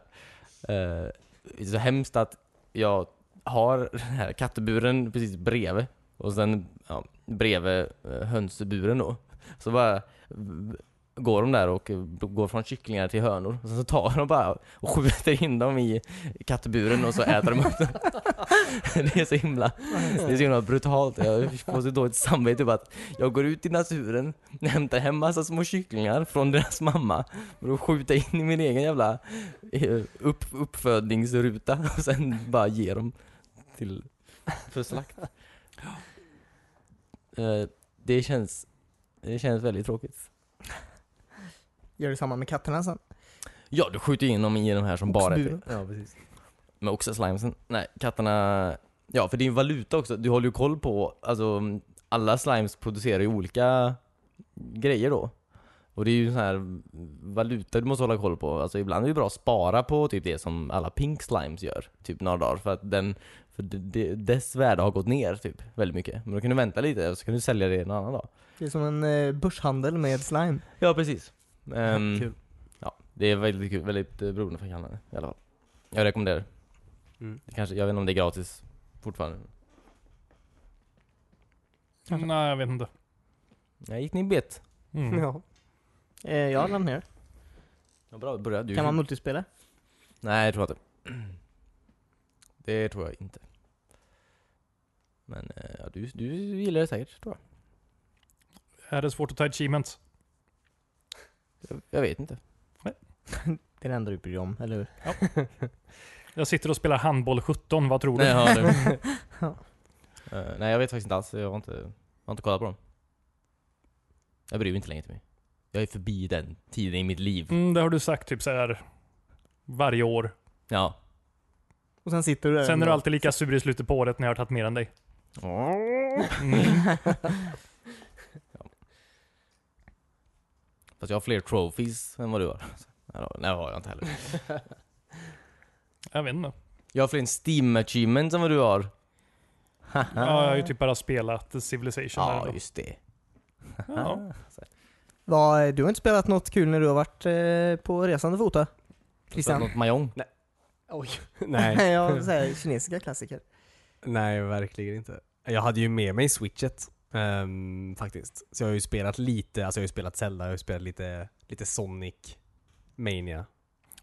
Speaker 2: eh, det är så hemskt att jag har den här kattburen precis bredvid och sen ja, bredvid eh, hönsburen då. Så bara v- går de där och eh, går från kycklingar till hönor. Och sen så tar de bara och skjuter in dem i kattburen och så äter de upp dem. Det är så himla, det är så himla brutalt. Jag får så dåligt samvete typ att jag går ut i naturen, hämtar hem massa små kycklingar från deras mamma och då skjuter jag in i min egen jävla eh, upp, uppfödningsruta och sen bara ger dem till, för slakt. Eh, Det känns, det känns väldigt tråkigt.
Speaker 4: Gör det samma med katterna sen.
Speaker 2: Ja, du skjuter in dem i de här som bara äter.
Speaker 4: Oxburen.
Speaker 3: ja, precis.
Speaker 2: Med oxeslimesen. Nej, katterna... Ja, för det är ju valuta också. Du håller ju koll på... Alltså, alla slimes producerar ju olika grejer då. Och det är ju sån här valuta du måste hålla koll på. Alltså ibland är det bra att spara på typ det som alla pink slimes gör. Typ några dagar. För att den... För det, det, dess värde har gått ner typ väldigt mycket. Men då kan du vänta lite och så kan du sälja det en annan dag.
Speaker 4: Det är som en eh, börshandel med slime.
Speaker 2: Ja, precis. Ehm,
Speaker 3: Kul.
Speaker 2: Ja, det är väldigt kul. Väldigt eh, beroendeframkallande i alla fall. Jag rekommenderar det.
Speaker 3: Mm.
Speaker 2: Det Kanske, jag vet inte om det är gratis fortfarande.
Speaker 4: Kanske.
Speaker 1: Nej, jag vet inte.
Speaker 2: Nej, gick ni bet?
Speaker 1: Mm.
Speaker 4: Ja. Eh, jag laddar ner.
Speaker 2: Ja, bra, börja du.
Speaker 4: Kan man multispela?
Speaker 2: Nej, jag tror inte. Det tror jag inte. Men eh, ja, du, du gillar det säkert, tror jag.
Speaker 1: Är det svårt att ta achievements?
Speaker 2: Jag, jag vet inte.
Speaker 4: Det är det enda du bryr dig om, eller hur?
Speaker 1: Jag sitter och spelar handboll 17, vad tror du?
Speaker 2: Nej, ja, det- Eh, nej, jag vet faktiskt inte alls. Jag har inte, jag har inte kollat på dem. Jag bryr mig inte längre till mig. Jag är förbi den tiden i mitt liv.
Speaker 1: Mm, det har du sagt typ så här varje år.
Speaker 2: Ja.
Speaker 4: Och sen sitter du där
Speaker 1: Sen är
Speaker 4: ändå.
Speaker 1: du alltid lika sur i slutet på året när jag har tagit mer än dig.
Speaker 3: Mm.
Speaker 2: Fast jag har fler trophies än vad du har. Nej, det har jag inte heller.
Speaker 1: Jag vet inte.
Speaker 2: Jag har fler steam achievements än vad du har.
Speaker 1: Ja, jag har ju typ bara spelat Civilization. där
Speaker 2: Ja,
Speaker 1: ändå.
Speaker 2: just det.
Speaker 1: ja.
Speaker 4: Va, du har inte spelat något kul när du har varit eh, på resande fot va? Christian?
Speaker 2: Något Mahjong.
Speaker 3: Oj. Nej.
Speaker 4: ja, så här, kinesiska klassiker.
Speaker 3: Nej, verkligen inte. Jag hade ju med mig switchet ehm, faktiskt. Så jag har ju spelat lite, alltså jag har ju spelat Zelda, jag har ju spelat lite, lite Sonic Mania.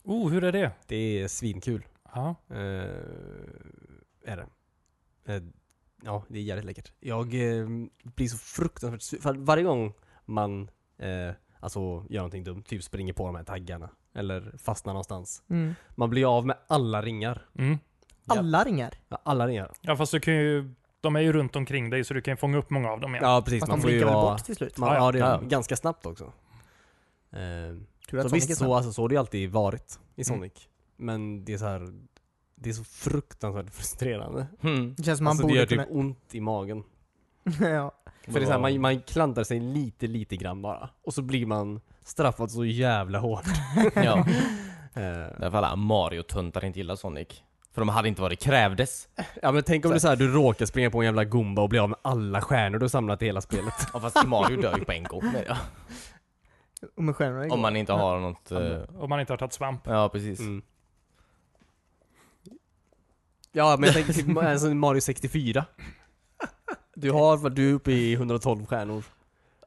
Speaker 1: Oh, hur är det?
Speaker 3: Det är svinkul.
Speaker 1: Ja.
Speaker 3: Eh, är det. Eh, ja, det är jävligt läckert. Jag eh, blir så fruktansvärt sur. För att varje gång man eh, alltså, gör någonting dumt, typ springer på de här taggarna eller fastnar någonstans.
Speaker 4: Mm.
Speaker 3: Man blir av med alla ringar.
Speaker 1: Mm.
Speaker 3: Ja.
Speaker 4: Alla ringar.
Speaker 3: Ja, Alla ringar.
Speaker 1: ja, fast du kan ju... De är ju runt omkring dig så du kan ju fånga upp många av dem igen.
Speaker 3: Ja, precis.
Speaker 4: Fast
Speaker 3: Man
Speaker 4: de
Speaker 3: får ju
Speaker 4: blinkar väl
Speaker 3: vara...
Speaker 4: bort till slut?
Speaker 3: Man, ja, det
Speaker 2: Ja,
Speaker 3: gör
Speaker 2: ja.
Speaker 3: de. Ganska snabbt också. Eh,
Speaker 4: Tur att
Speaker 3: så
Speaker 4: Sonic är
Speaker 3: visst,
Speaker 4: snabb.
Speaker 3: så, alltså, så har det ju alltid varit i
Speaker 1: Mm.
Speaker 3: Sonic. Men det är så här... Det är så fruktansvärt frustrerande.
Speaker 2: Mm.
Speaker 4: Det känns som man
Speaker 3: alltså, det
Speaker 4: borde
Speaker 3: gör
Speaker 4: kunna...
Speaker 3: typ ont i magen.
Speaker 4: ja.
Speaker 3: För det är så här, man, man klantar sig lite, lite grann bara. Och så blir man straffad så jävla hårt.
Speaker 2: Ja.
Speaker 3: Eh,
Speaker 2: Därför alla Mario-töntar inte gillar Sonic. För de hade inte vad det krävdes.
Speaker 3: ja men tänk om
Speaker 2: Så-
Speaker 3: det är så här, du råkar springa på en jävla gumba och bli av med alla stjärnor du har samlat i hela spelet.
Speaker 2: Ja, fast Mario dör ju på en gång. med det.
Speaker 4: Och med stjärnorna igår.
Speaker 2: Om man inte har något... eh,
Speaker 1: Om man inte har tagit svamp.
Speaker 2: Ja, precis.
Speaker 3: Mm. Ja men jag tänker typ alltså, Mario 64. Du har, du är uppe i 112 stjärnor.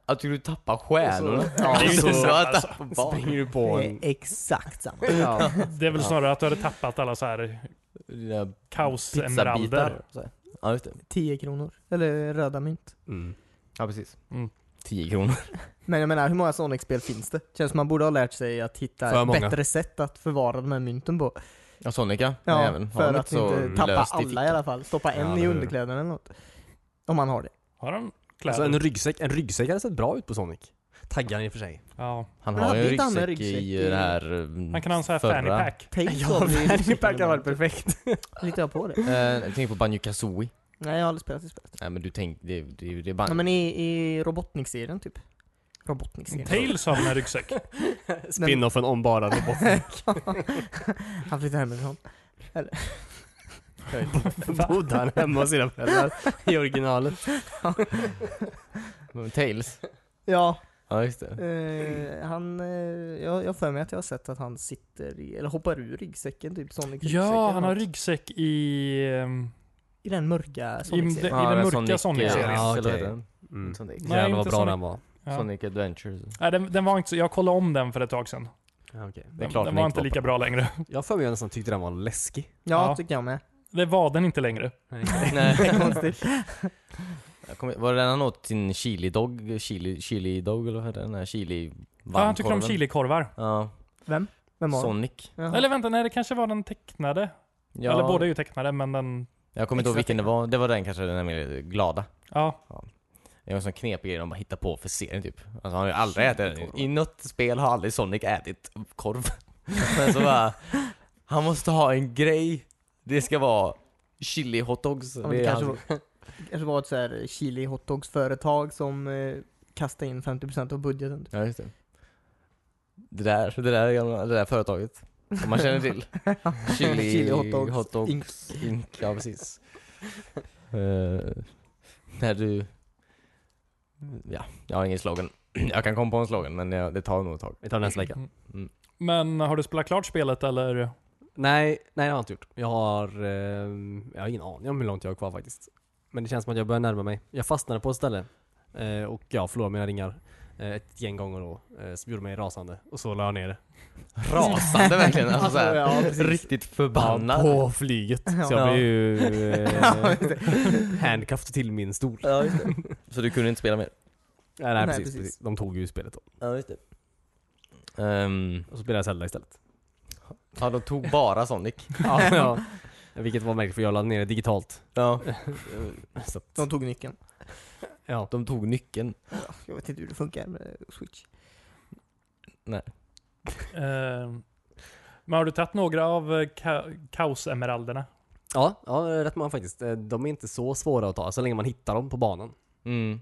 Speaker 2: Att du tappar stjärnorna.
Speaker 3: Ja,
Speaker 1: Det är ju
Speaker 3: så
Speaker 1: inte sant, alltså.
Speaker 3: springer du på
Speaker 4: Det är
Speaker 3: en...
Speaker 4: exakt samma.
Speaker 3: Ja.
Speaker 1: Det är väl snarare att du hade tappat alla så här
Speaker 2: Dina
Speaker 1: kaosemeralder.
Speaker 2: pizzabitar. så här. Ja, just det.
Speaker 4: 10 kronor. Eller röda mynt.
Speaker 3: Mm.
Speaker 2: Ja, precis.
Speaker 1: Mm.
Speaker 2: 10 kronor.
Speaker 4: Men jag menar, hur många Sonic-spel finns det? Känns som man borde ha lärt sig att hitta
Speaker 3: För
Speaker 4: ett
Speaker 3: många.
Speaker 4: bättre sätt att förvara de här mynten på.
Speaker 2: Ja, Sonica.
Speaker 4: Ja,
Speaker 2: Nej, även. Har
Speaker 4: för
Speaker 2: de
Speaker 4: att
Speaker 2: så
Speaker 4: inte tappa
Speaker 2: löst i
Speaker 4: alla i alla fall. Stoppa
Speaker 3: Ja,
Speaker 4: en
Speaker 3: eller
Speaker 4: i
Speaker 3: hur.
Speaker 4: underkläderna eller något. Om man har det.
Speaker 1: Har de kläder.
Speaker 3: Alltså en ryggsäck, en ryggsäck hade sett bra ut på Sonic. Taggar i och för sig.
Speaker 1: ja.
Speaker 2: Han
Speaker 4: Men
Speaker 2: har
Speaker 4: hade
Speaker 2: ju en
Speaker 4: inte han en
Speaker 2: ryggsäck i
Speaker 4: ryggsäck i-
Speaker 2: det här eh,
Speaker 1: Man kan ha en sån här
Speaker 2: förra.
Speaker 1: fanny pack.
Speaker 4: Tänk
Speaker 3: Ja,
Speaker 4: om det är liksom
Speaker 3: Fanny Pack hade varit
Speaker 4: Superman.
Speaker 3: perfekt.
Speaker 4: Litar jag på det?
Speaker 2: Eh, jag tänker på Banjo Kazooie.
Speaker 4: Nej, jag har aldrig spelat det spelet.
Speaker 2: Nej men du tänkte, det, det, det är
Speaker 4: Ja,
Speaker 2: Banjo.
Speaker 4: men i, i Robotnik-serien typ. Robotnik-serien.
Speaker 1: Tails har en ryggsäck.
Speaker 3: Spinoffen om bara roboten.
Speaker 4: Han flyttade hemifrån.
Speaker 3: Bodde han hemma hos sina föräldrar i originalet.
Speaker 2: Men Tails.
Speaker 4: Ja,
Speaker 2: Ja just det.
Speaker 4: eh, han... Eh, jag jag har för mig att jag har sett att han sitter i, eller hoppar ur ryggsäcken typ. Sonic
Speaker 1: Ja, han har
Speaker 4: ryggsäck.
Speaker 1: ryggsäck i... ehm,
Speaker 4: I den mörka
Speaker 1: I
Speaker 4: Sonic-serien.
Speaker 1: den mörka Sonic-serien.
Speaker 2: Ja,
Speaker 3: Ja,
Speaker 2: eller vad
Speaker 3: okej.
Speaker 2: heter den?
Speaker 3: Mm.
Speaker 2: Sonic.
Speaker 1: Nej,
Speaker 3: Jävlar vad
Speaker 1: inte
Speaker 3: bra
Speaker 1: Sonic.
Speaker 3: den var.
Speaker 1: ja.
Speaker 2: Sonic Adventures.
Speaker 1: Nej, den, den var inte så... Jag kollade om den för ett tag sedan.
Speaker 3: Ja, okej.
Speaker 2: Det är
Speaker 1: Den,
Speaker 2: klart
Speaker 1: den
Speaker 2: den
Speaker 1: var inte
Speaker 2: inte var
Speaker 1: lika bra längre.
Speaker 3: Jag har för mig att jag nästan tyckte den var läskig.
Speaker 4: Ja,
Speaker 1: Ja.
Speaker 4: tycker jag med.
Speaker 1: Det var den inte längre.
Speaker 4: Det
Speaker 2: Nej.
Speaker 4: är konstigt.
Speaker 2: Jag kommer, var det den han åt sin chili dog? Chili, chili dog eller vad heter den? Den här chili
Speaker 1: Ja, han tyckte om
Speaker 2: varmkorven?
Speaker 1: chilikorvar.
Speaker 2: Ja,
Speaker 4: Vem var det?
Speaker 2: Sonic.
Speaker 4: Jaha.
Speaker 1: Eller vänta, nej det kanske var den tecknade.
Speaker 2: Ja,
Speaker 1: Eller båda är ju tecknade, men den...
Speaker 2: Jag kommer inte ihåg
Speaker 4: Extra
Speaker 2: vilken det var. Det var den kanske, den där med glada.
Speaker 1: Ja.
Speaker 2: Det var en sån knepig grej de bara hittar på för serien typ. Alltså han har ju aldrig ätit den. I något spel har aldrig Sonic ätit korv. Men så bara, han måste ha en grej. Det ska vara chili hotdogs.
Speaker 4: Ja, men det,
Speaker 2: är
Speaker 4: kanske
Speaker 2: hans-
Speaker 4: var, det kanske var ett så här chili hotdogs företag som eh, kastade in 50% av budgeten. typ.
Speaker 2: Ja, just det. Det där, det där, gamla- det där företaget. Som man känner till. Chili,
Speaker 4: Chili hot dogs,
Speaker 2: hotdogs, Inc. Ja, precis. Eh, när du... Ja, jag har ingen slogan. Jag kan komma på en slogan, men jag, det tar nog ett tag.
Speaker 3: Vi tar den nästa vecka.
Speaker 1: Mm. Men har du spelat klart spelet eller?
Speaker 3: Nej, nej det har jag inte gjort. Jag har, eh, jag har ingen aning om hur långt jag har kvar faktiskt. Men det känns som att jag börjar närma mig. Jag fastnade på ett ställe eh, och jag förlorade mina ringar eh, ett gäng gånger då, eh, som gjorde mig rasande. Och så la jag ner det.
Speaker 2: Rasande verkligen. Alltså, så här,
Speaker 4: ja, precis.
Speaker 2: riktigt förbannad.
Speaker 3: på flyget. Så jag
Speaker 2: Ja.
Speaker 3: blev ju eh, handcuffed till min stol.
Speaker 2: Ja, just det. Så du kunde inte spela mer?
Speaker 3: Nej, nej,
Speaker 4: Nej,
Speaker 3: precis,
Speaker 4: precis.
Speaker 3: precis. De tog ju spelet då.
Speaker 2: Ja, just det. Um,
Speaker 3: Och så spelade jag Zelda istället.
Speaker 2: ja, de tog bara Sonic.
Speaker 3: ja, ja. Vilket var märkligt för jag la ner det digitalt.
Speaker 2: Ja.
Speaker 3: Så att,
Speaker 4: De tog nyckeln.
Speaker 3: ja.
Speaker 2: De tog nyckeln.
Speaker 4: Jag vet inte hur det funkar med Switch.
Speaker 1: Eh, men har du tagit några av eh, ka- kaosemeralderna?
Speaker 3: Ja, ja, rätt många faktiskt. Eh, De är inte så svåra att ta, så länge man hittar dem på banan.
Speaker 2: Mm.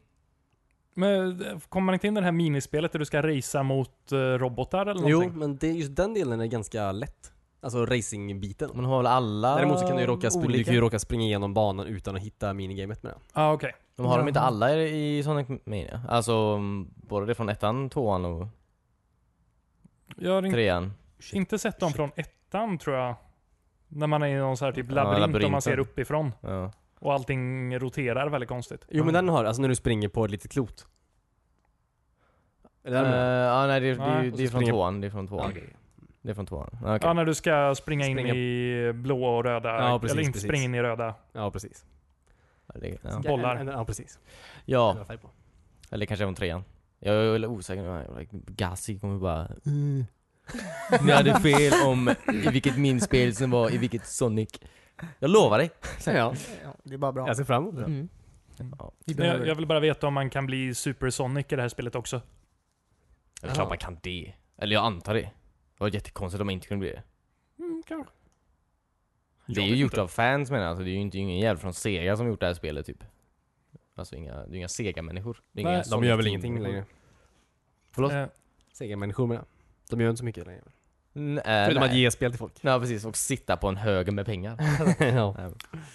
Speaker 1: Men eh, kommer man inte in i det här minispelet där du ska racea mot eh, robotar eller
Speaker 3: Jo,
Speaker 1: någonting?
Speaker 3: men det, just den delen är ganska lätt. Alltså racingbiten.
Speaker 2: Man har väl alla
Speaker 3: Däremot så kan du ju råka, springa, du
Speaker 2: olika?
Speaker 3: kan ju råka springa igenom banan utan att hitta minigamet med den.
Speaker 1: Ja, ah, okej.
Speaker 2: De har de inte
Speaker 4: Jaha.
Speaker 2: alla i i Sonic Mania? Alltså mm, både det från ettan, tvåan och
Speaker 1: Jag har in-
Speaker 2: trean?
Speaker 1: inte sett dem från ettan tror jag. När man är i någon så här typ
Speaker 2: Ja,
Speaker 1: labyrint och man
Speaker 2: labyrinten.
Speaker 1: ser uppifrån.
Speaker 2: Ja.
Speaker 1: Och allting roterar väldigt konstigt.
Speaker 3: Jo, men den har, alltså när du springer på ett litet klot. Är det den
Speaker 2: Eh,
Speaker 3: med?
Speaker 2: ja, nej det, det,
Speaker 1: Nej.
Speaker 2: det,
Speaker 3: Och
Speaker 2: det är
Speaker 3: så
Speaker 2: från
Speaker 3: springer-
Speaker 2: tvåan, det är från
Speaker 3: Ja,
Speaker 2: tvåan.
Speaker 3: okej.
Speaker 2: Det är från tvåan. Ja, okej.
Speaker 1: Ja, när du ska springa in
Speaker 3: Springa-
Speaker 1: i blåa och röda.
Speaker 3: Ja, precis,
Speaker 1: eller inte
Speaker 3: precis.
Speaker 1: springa in i röda.
Speaker 3: ja, precis.
Speaker 2: Ja, det- ja.
Speaker 1: Bollar.
Speaker 3: Ja, ja precis. Den
Speaker 2: ja,
Speaker 3: har färg på.
Speaker 2: eller kanske från trean. Jag är väl osäker nu. Gassi kommer bara...
Speaker 3: Mm.
Speaker 2: Ni hade fel om i vilket minspel som var i vilket Sonic. Jag lovar dig.
Speaker 3: Ja,
Speaker 4: Ja, det är bara bra.
Speaker 3: jag
Speaker 1: Alltså,
Speaker 3: ser fram emot det.
Speaker 4: Mm.
Speaker 2: Ja.
Speaker 4: Vi
Speaker 1: Men Jag,
Speaker 4: behöver
Speaker 1: jag vill bara veta om man kan bli Super Sonic i det här spelet också.
Speaker 2: Det är klart man kan det. Eller jag antar det. Det var jättekonstigt om man inte kunde bli det.
Speaker 1: Mm, kanske.
Speaker 2: Det är
Speaker 1: Jag
Speaker 2: ju
Speaker 1: vet
Speaker 2: gjort
Speaker 1: inte.
Speaker 2: av fans menar jag, alltså, det är ju inte ingen jävel från Sega som gjort det här spelet typ. Alltså inga, det är ju inga Sega-människor. Det är
Speaker 1: Nej,
Speaker 2: inga
Speaker 1: de
Speaker 3: De
Speaker 2: Sonic
Speaker 3: gör väl
Speaker 2: Team-människor.
Speaker 3: ingenting längre.
Speaker 2: Förlåt?
Speaker 1: Eh,
Speaker 3: Sega människor menar jag. De gör inte så mycket längre.
Speaker 2: Nej,
Speaker 3: Förutom att
Speaker 2: nej.
Speaker 3: ge spel till folk.
Speaker 2: Ja precis, och sitta på en hög med pengar.
Speaker 3: ja.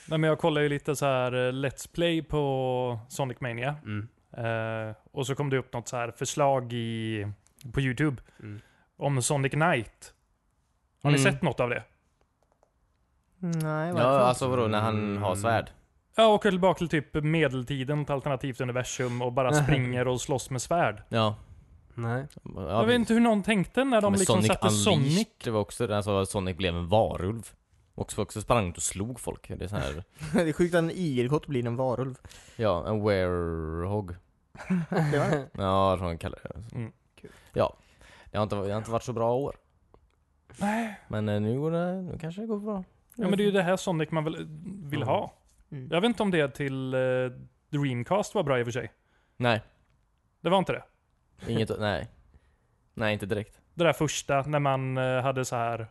Speaker 1: nej, men jag kollar ju lite så här eh, Let's Play på Sonic Mania.
Speaker 3: Mm.
Speaker 1: Eh, och så kom det upp något så här förslag i, på YouTube
Speaker 3: Mm.
Speaker 1: om Sonic Knight. Har ni
Speaker 2: Mm.
Speaker 1: sett något av det?
Speaker 4: Nej,
Speaker 2: Ja
Speaker 4: varför?
Speaker 2: alltså vadå, när han har svärd?
Speaker 1: Ja, åker tillbaka till typ medeltiden, ett alternativt universum och bara springer och slåss med svärd.
Speaker 2: Ja.
Speaker 3: Nej.
Speaker 2: ja
Speaker 1: jag vet inte hur någon tänkte när de
Speaker 2: men
Speaker 1: liksom
Speaker 2: Sonic
Speaker 1: satte
Speaker 2: Unleashed,
Speaker 1: Sonic.
Speaker 2: Det var också, alltså Sonic blev en varulv. Och så också sprang ut och slog folk. Det är så här,
Speaker 4: det är sjukt att en igelkott blir en varulv.
Speaker 2: ja, en werehog.
Speaker 4: Det var det.
Speaker 2: Ja, vad de kallar det.
Speaker 1: Mm.
Speaker 4: Kul.
Speaker 2: Ja. Det har, inte, det har inte varit så bra år.
Speaker 1: Nej.
Speaker 2: Men eh, nu går det, nu kanske det går bra.
Speaker 1: Ja men det är ju det här Sonic man vill, vill
Speaker 3: Mm.
Speaker 1: ha.
Speaker 4: Mm.
Speaker 1: Jag vet inte om det till eh, Dreamcast var bra i och för sig.
Speaker 2: Nej,
Speaker 1: Det var inte det?
Speaker 2: inget, nej. Nej, inte direkt.
Speaker 1: Det där första när man eh, hade så här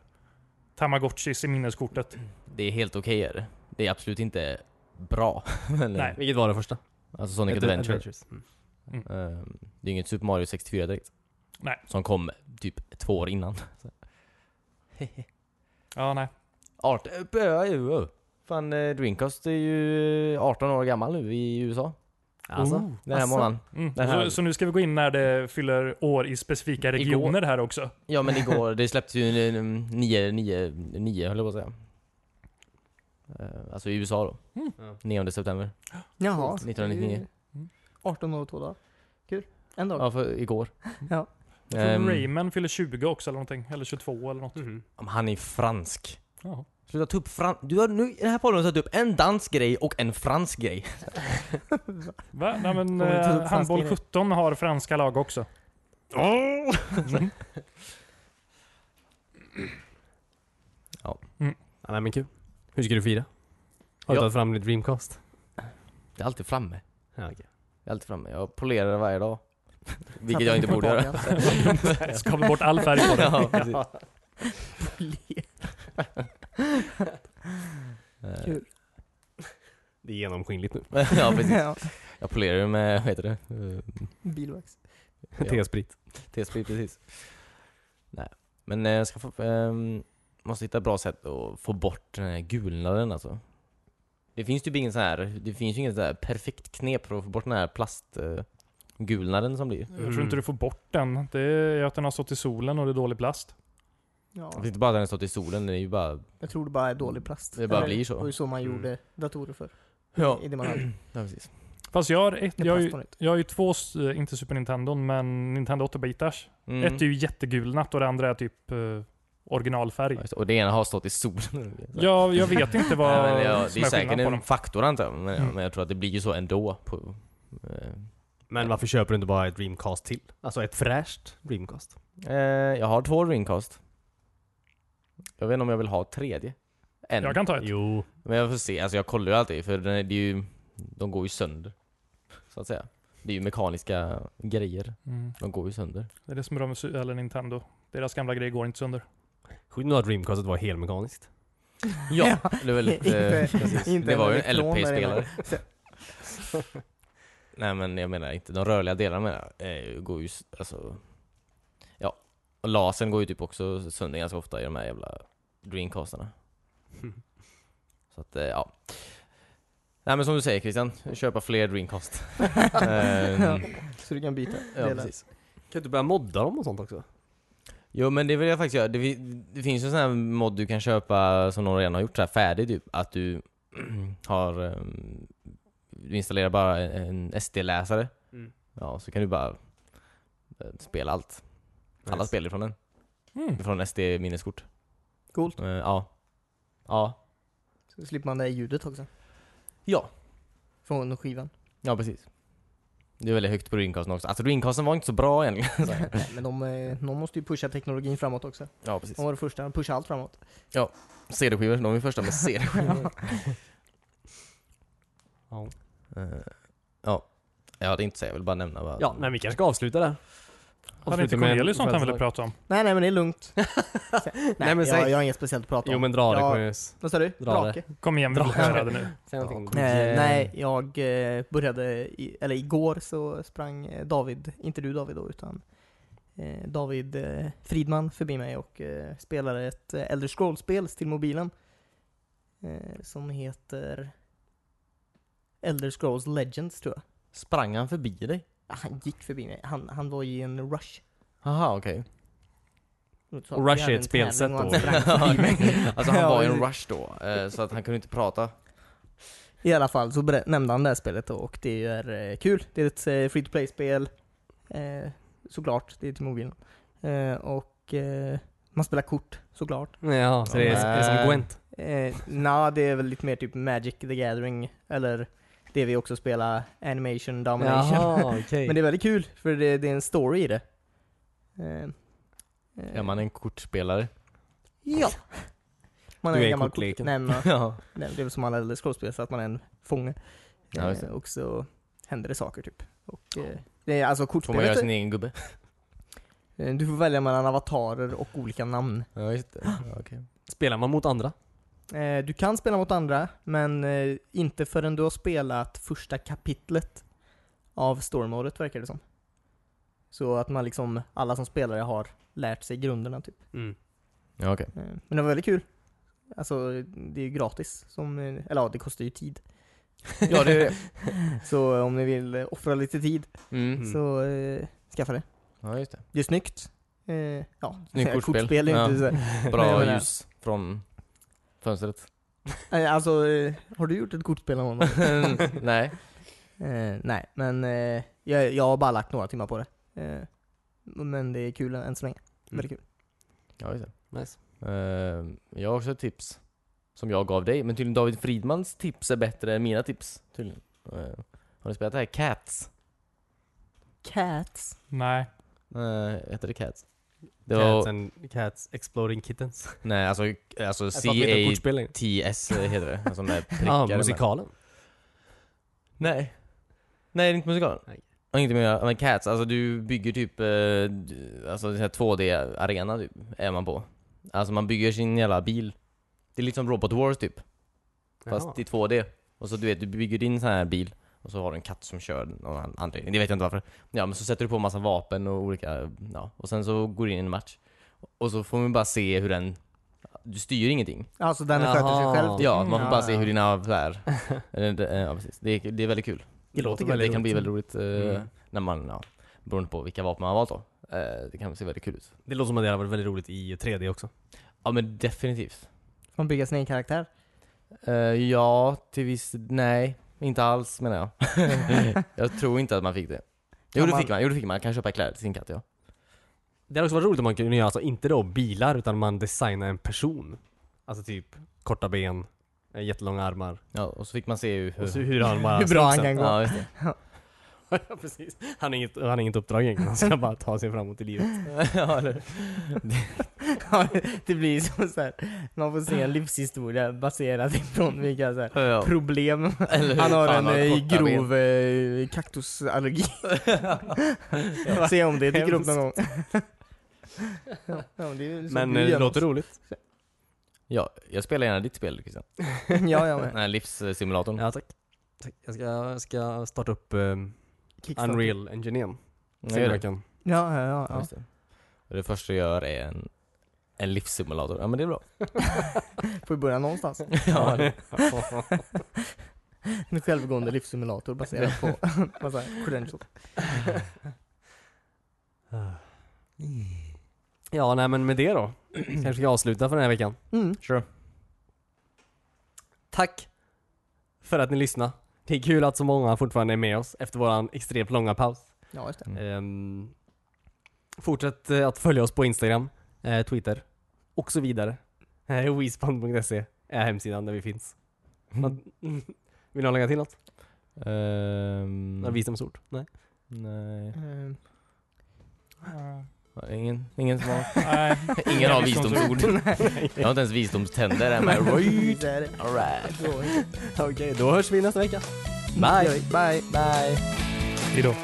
Speaker 1: Tamagotchis i minneskortet.
Speaker 2: Det är helt okej är det. Det är absolut inte bra. Men,
Speaker 1: Nej.
Speaker 3: Vilket var det första?
Speaker 2: Alltså Sonic
Speaker 3: Ad-
Speaker 2: Adventure.
Speaker 3: Adventures. Mm.
Speaker 2: Ehm, det är inget Super Mario 64 direkt.
Speaker 1: Nej.
Speaker 2: Som kom typ två år innan.
Speaker 1: Ja, nej.
Speaker 2: Art... Eh, Fan, eh, Dreamcast är ju 18 år gammal nu i USA. Mm.
Speaker 3: Alltså,
Speaker 1: Oh.
Speaker 2: Den här
Speaker 4: Asså?
Speaker 2: månaden.
Speaker 1: Mm.
Speaker 2: Den här-
Speaker 1: Så, så nu ska vi gå in när det fyller år i specifika
Speaker 2: Igår.
Speaker 1: regioner här också.
Speaker 2: Ja men igår, det släpptes ju eh, nio, nio, nio höll jag på att säga. Eh, Alltså i USA då.
Speaker 1: Mm.
Speaker 3: Ja.
Speaker 2: 9 september.
Speaker 4: Jaha.
Speaker 2: 1999.
Speaker 1: Mm.
Speaker 4: 18 år och två dagar. Kul. En dag.
Speaker 2: Ja, för igår.
Speaker 4: Ja.
Speaker 1: Jag tror
Speaker 2: Ehm,
Speaker 1: Rayman fyller 20 också eller någonting. Eller 22 eller något.
Speaker 3: Mhm.
Speaker 2: om han är fransk.
Speaker 1: Ja.
Speaker 2: Sluta ta upp frans... Du har nu i den här podden satt upp en dansk grej och en fransk grej.
Speaker 1: Va? Nej, men,
Speaker 4: Kommer vi ta upp
Speaker 1: eh,
Speaker 4: franska
Speaker 1: handboll
Speaker 4: grejer?
Speaker 1: 17 har franska lag också. Mm.
Speaker 3: Ja, nej men kul. Hur ska du fira? Har du
Speaker 2: Ja.
Speaker 3: tagit fram din Dreamcast?
Speaker 2: Det är alltid framme.
Speaker 3: Ja, okej.
Speaker 2: Det är alltid framme. Jag polerar det varje dag. Vilket jag inte borde göra.
Speaker 1: Skavla bort all färg på det.
Speaker 2: Ja, precis. Eh,
Speaker 4: Kul.
Speaker 3: Det är genomskinligt nu.
Speaker 2: ja precis.
Speaker 4: Ja.
Speaker 2: Jag polerar det med, vad heter det? Eh,
Speaker 4: Bilvax.
Speaker 2: Ja.
Speaker 3: T-sprit.
Speaker 2: TSP precis. Nej, men eh, jag ska få, ehm, måste hitta ett bra sätt att få bort den här gulnaden alltså. Det finns typ ingen sån här, det finns ju inget sån här perfekt knep för att få bort den här plastgulnaden gulnaden som blir.
Speaker 1: Jag tror inte du får bort den. Det är att den har stått i solen och det är dålig plast.
Speaker 4: Ja.
Speaker 2: Det är inte bara att den har stått i solen, det är ju bara...
Speaker 4: Jag tror det bara är dålig plast.
Speaker 2: Det bara
Speaker 4: Eller,
Speaker 2: blir så.
Speaker 4: Det var ju så man
Speaker 3: Mm.
Speaker 4: gjorde datorer för.
Speaker 2: Ja,
Speaker 4: I det man hade.
Speaker 2: ja precis.
Speaker 1: Fast jag har, ett,
Speaker 4: När
Speaker 1: jag har,
Speaker 4: plast
Speaker 1: ju,
Speaker 4: var nytt.
Speaker 1: jag har ju två, s- inte Super Nintendo, men Nintendo 8-bitars.
Speaker 2: Mm.
Speaker 1: Ett är ju jättegulnat och det andra är typ eh, originalfärg.
Speaker 2: Ja, just det. Och det ena har stått i solen.
Speaker 1: Ja, jag vet inte vad
Speaker 2: Nej, men ja, det
Speaker 1: som
Speaker 2: är
Speaker 1: är skillnaden
Speaker 2: säkert
Speaker 1: på
Speaker 2: en
Speaker 1: dem.
Speaker 2: faktor antar jag, men,
Speaker 1: Mm.
Speaker 2: men jag tror att det blir ju så ändå. På, eh,
Speaker 3: Mm. Men varför köper du inte bara ett Dreamcast till? Alltså ett fräscht Dreamcast.
Speaker 2: Eh, jag har två ringcast. Jag vet inte om jag vill ha ett tredje. Än.
Speaker 1: Jag kan ta ett.
Speaker 3: Jo.
Speaker 2: Men jag får se, alltså jag kollar ju alltid för den är, det är ju, de går ju sönder. Så att säga. Det är ju mekaniska grejer,
Speaker 1: Mm.
Speaker 2: de går ju sönder.
Speaker 1: Det är det som är bra med Su- eller Nintendo. Deras gamla grejer går inte sönder.
Speaker 3: Sjukt nog att Dreamcastet var helmekaniskt.
Speaker 2: Ja, det är väldigt...
Speaker 4: Inte-
Speaker 2: eh, precis.
Speaker 4: inte
Speaker 2: det var ju
Speaker 4: en
Speaker 2: en
Speaker 4: elektron där
Speaker 2: LP-spelare. Nej men jag menar inte, de rörliga delarna menar jag, eh, går ju, s- alltså... Ja, och lasern går ju typ också sönder ganska ofta i de här jävla Dreamcastarna. Så att, eh, ja. Nej men som du säger Christian, köpa fler Dreamcast. Ehm,
Speaker 4: Så du kan byta.
Speaker 2: ja,
Speaker 4: delar.
Speaker 2: precis.
Speaker 3: Kan du börja modda dem och sånt också?
Speaker 2: Jo men det vill jag faktiskt göra. Det, vi- det finns ju en sån här mod du kan köpa som någon redan har gjort så här färdig typ. Att du har... ehm, du installerar bara en SD-läsare.
Speaker 3: Mm.
Speaker 2: Ja, så kan du bara eh, spela allt. Alla
Speaker 3: Nice.
Speaker 2: spel ifrån den.
Speaker 1: Mm.
Speaker 2: Från SD-minneskort.
Speaker 4: Coolt.
Speaker 2: Eh, ja. Ja.
Speaker 4: Så slipper man det här ljudet också.
Speaker 2: Ja.
Speaker 4: Från skivan.
Speaker 2: Ja, precis. Det är väldigt högt på Dreamcasten också. Alltså Dreamcasten var inte så bra egentligen. Så här.
Speaker 4: Nej, men de, eh, någon måste ju pusha teknologin framåt också.
Speaker 2: ja, precis.
Speaker 4: De var det första, de pushade allt framåt.
Speaker 2: CD-skivor, de är första med CD-skivor.
Speaker 3: Ja.
Speaker 2: Eh, ja. Jag hade inte säga, jag vill bara nämna vad...
Speaker 3: Ja, men vi kanske ska avsluta där.
Speaker 1: Hade inte Cornelius sånt han ville prata om?
Speaker 4: Nej nej men det är lugnt. Nej,
Speaker 3: Nej, men
Speaker 4: jag,
Speaker 3: säg-
Speaker 4: jag har inget speciellt att prata om.
Speaker 3: Jo men dra det
Speaker 4: Ja.
Speaker 3: Cornelius.
Speaker 4: Vad sa du?
Speaker 3: Dra det.
Speaker 4: Drake?
Speaker 1: Kom igen, vi vill
Speaker 3: Dra.
Speaker 1: höra det nu.
Speaker 3: Säg någonting.
Speaker 2: Ja.
Speaker 4: Eh,
Speaker 2: Eh,
Speaker 4: nej, jag eh, började, i, eller igår så sprang eh, David, inte du David då, utan eh, David eh, Fridman förbi mig och eh, spelade ett eh, Elder Scrolls-spel till mobilen. Eh, som heter Elder Scrolls Legends tror jag.
Speaker 2: Sprang han förbi dig?
Speaker 4: Ah, Han gick förbi mig, han, han var i en rush.
Speaker 2: Jaha, okej.
Speaker 4: Så
Speaker 3: Och
Speaker 4: vi
Speaker 3: rush
Speaker 4: hade
Speaker 3: är
Speaker 4: en
Speaker 3: ett spelsätt
Speaker 4: tävling och
Speaker 3: då.
Speaker 4: han sprang förbi mig.
Speaker 2: alltså han var i en
Speaker 4: Ja,
Speaker 2: rush då, eh, så att han kunde inte prata.
Speaker 4: I alla fall så berä- nämnde han det här spelet då, och det är eh, kul. Det är ett eh, free to play-spel. Eh, såklart, det är till mobilen. Eh, och eh, man spelar kort såklart.
Speaker 3: Ja, så det är, det är som Gwent.
Speaker 4: Eh, Nja, det är väl lite mer typ Magic the Gathering, eller det vi också spelar, Animation Domination.
Speaker 3: okej.
Speaker 4: Men det är väldigt kul, för det, det är en story i det. Eh, eh,
Speaker 2: Är man en kortspelare?
Speaker 4: Ja! Man
Speaker 3: Du
Speaker 4: är
Speaker 3: är
Speaker 4: en gammal kort.
Speaker 3: kortleken.
Speaker 4: Nej, men-
Speaker 2: ja.
Speaker 4: Nej, det är väl som alla äldre skådespelare, så att man är en fånge.
Speaker 2: Ja, just
Speaker 4: eh,
Speaker 2: det.
Speaker 4: och så händer det saker typ. Och, eh, det är alltså
Speaker 2: Får man göra
Speaker 4: kortspelet.
Speaker 2: sin egen gubbe?
Speaker 4: eh, Du får välja mellan avatarer och olika namn.
Speaker 2: Ja just det. Ja, okej.
Speaker 3: Spelar man mot andra?
Speaker 4: Eh, Du kan spela mot andra, men eh, inte förrän du har spelat första kapitlet av stormålet verkar det som. Så att man liksom, alla som spelare har lärt sig grunderna typ.
Speaker 2: Ja, okej.
Speaker 4: Eh, Men det var väldigt kul. Alltså, det är ju gratis. Som, eh, eller ja, det kostar ju tid.
Speaker 2: ja det är det.
Speaker 4: Så om ni vill eh, offra lite tid,
Speaker 2: Mm.
Speaker 4: så eh, skaffa det.
Speaker 2: Ja just det.
Speaker 4: Det är snyggt. Eh, ja,
Speaker 2: Snyggt kortspel.
Speaker 4: kortspel är inte så. Men jag
Speaker 2: Bra
Speaker 4: menar-
Speaker 2: ljus från fönstret.
Speaker 4: Eh, Alltså, eh, har du gjort ett kortspel någon gång?
Speaker 2: Nej.
Speaker 4: Eh, nej, men eh, jag, jag har bara lagt några timmar på det. Eh, men det är kul än så länge. Väldigt
Speaker 2: Mm.
Speaker 4: kul.
Speaker 2: Ja just det.
Speaker 3: Nice.
Speaker 2: Eh, jag har också ett tips. Som jag gav dig. Men tydligen David Fridmans tips är bättre än mina tips. Tydligen. Eh, har ni spelat det här? Cats?
Speaker 4: Cats.
Speaker 1: Nej.
Speaker 2: Uh, heter det Cats? Det var,
Speaker 3: Cats, and, cats Exploding Kittens.
Speaker 2: Nej alltså, alltså
Speaker 3: Jag pratar inte om
Speaker 2: C-A-T-S
Speaker 3: kortspel längre.
Speaker 2: heter det. Alltså med prickar.
Speaker 3: Ja,
Speaker 2: emellan.
Speaker 3: musikalen.
Speaker 2: Nej. Nej, det är inte musikalen.
Speaker 3: Nej.
Speaker 2: Och inte med, med Cats, alltså du bygger typ, eh, d- alltså det här 2D-arena typ, är man på. Alltså man bygger sin jävla bil. Det är lite som Robot Wars typ, fast i 2D. Och så du vet, du bygger din sån här bil, och så har du en katt som kör den av någon anledning, det vet jag inte varför. Ja men så sätter du på massa vapen och olika, ja. Och sen så går du in i en match. Och så får man bara se hur den, du styr ingenting.
Speaker 4: Alltså den sköter sig
Speaker 3: Jaha.
Speaker 4: själv. typ.
Speaker 2: Ja, man får
Speaker 4: Ja,
Speaker 2: bara se
Speaker 4: ja.
Speaker 2: hur dina är. Eh, det- eh, Ja, precis. Det, är, det är väldigt kul.
Speaker 3: Det låter
Speaker 2: Det,
Speaker 3: väldigt
Speaker 2: kan bli väldigt
Speaker 3: roligt.
Speaker 2: roligt eh,
Speaker 3: Mm.
Speaker 2: när man, ja, beroende på vilka vapen man har valt då. Eh, det kan se väldigt kul ut.
Speaker 3: Det låter som att det hade varit väldigt roligt i 3D också.
Speaker 2: Ja men definitivt.
Speaker 4: Får man bygga sin egen karaktär.
Speaker 2: Eh, ja, till viss, nej, inte alls menar jag. jag tror inte att man fick det. Jo
Speaker 4: Kan
Speaker 2: det
Speaker 4: man-
Speaker 2: fick man, jo det fick man. Man kan köpa kläder till sin katt ja.
Speaker 3: Det hade också varit roligt om man kunde göra, alltså inte då bilar, utan man designar en person. Alltså typ korta ben, eh, jättelånga armar.
Speaker 2: Ja, och så fick man se hur...
Speaker 3: Och så hur han bara
Speaker 4: Hur bra han
Speaker 3: slog
Speaker 4: kan
Speaker 3: sen.
Speaker 4: gå.
Speaker 2: ja, just det.
Speaker 3: Ja, precis. Han har inget, han har inget uppdrag egentligen, han ska bara ta sig framåt i livet.
Speaker 2: ja, eller,
Speaker 4: Ja, det blir som så här. man får se en livshistoria baserad ifrån vilka så här,
Speaker 2: ja.
Speaker 4: problem.
Speaker 2: Eller hur
Speaker 4: Han har
Speaker 2: fan
Speaker 4: en eh,
Speaker 2: korta ben.
Speaker 4: grov eh, kaktusallergi. Se om det dyker upp någon gång. ja, ja, men det är liksom ju så
Speaker 3: Men
Speaker 4: du
Speaker 3: eh, det
Speaker 4: gör
Speaker 3: låter
Speaker 4: också.
Speaker 3: roligt.
Speaker 2: Ja, jag spelar gärna ditt spel Christian.
Speaker 4: Ja, ja,
Speaker 2: Den
Speaker 4: men.
Speaker 2: här livssimulatorn.
Speaker 3: Ja, tack. tack. Jag, ska, jag ska starta upp eh,
Speaker 4: Kickstarter.
Speaker 3: Unreal Engineen.
Speaker 2: Jag
Speaker 3: Se
Speaker 2: gör
Speaker 3: om
Speaker 2: det.
Speaker 3: jag kan.
Speaker 4: Ja, ja, ja.
Speaker 2: Ja.
Speaker 4: ja.
Speaker 2: Just det. Och det första jag gör är en, en livssimulator. Ja men det är bra.
Speaker 4: Får vi börja någonstans.
Speaker 2: Ja,
Speaker 4: En självgående livssimulator baserad på massa credentials.
Speaker 3: Ja, nej men med det då. Kanske ska jag avsluta för den här veckan.
Speaker 4: Mm.
Speaker 2: sure.
Speaker 3: Tack för att ni lyssnade. Det är kul att så många fortfarande är med oss efter våran extremt långa paus.
Speaker 4: Ja, just det.
Speaker 2: Mm.
Speaker 3: Ehm, fortsätt eh, att följa oss på Instagram, eh, Twitter och så vidare. Eh, Weespan.se är hemsidan där vi finns. Man, vill någon lägga till något?
Speaker 2: Ehm,
Speaker 3: Några visdomsord? Nej.
Speaker 2: Nej.
Speaker 4: Ehm,
Speaker 1: Eh,
Speaker 2: Ingen, ingen som har...
Speaker 1: nej.
Speaker 2: Ingen har visdomsord. Jag har inte ens visdomständer. Am I right?
Speaker 4: så är det.
Speaker 2: Alright.
Speaker 4: Så är det.
Speaker 3: Okej, då hörs vi nästa vecka. Bye!
Speaker 4: Bye. Bye.
Speaker 1: Hejdå.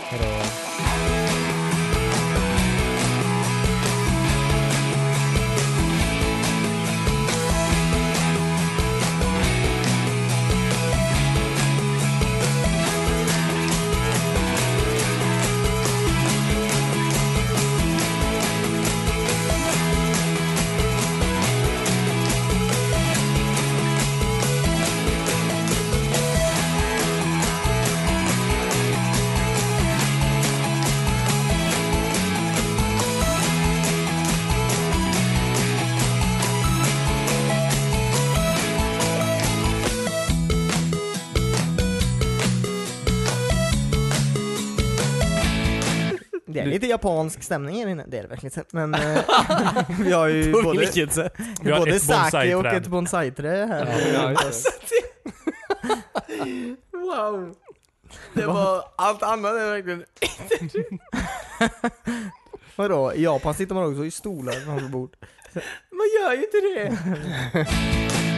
Speaker 4: Det är lite japansk stämning här inne, det är det verkligen. Men eh, vi har ju både,
Speaker 3: vilket sätt?
Speaker 1: Vi har
Speaker 4: både
Speaker 1: ett
Speaker 4: sake och
Speaker 1: bonsai-träd.
Speaker 4: ett bonsai-trä här.
Speaker 2: Wow.
Speaker 4: Det
Speaker 2: var allt annat är verkligen...
Speaker 4: Vadå, i Japan sitter man också i stolar framför bord.
Speaker 2: Man gör ju inte det.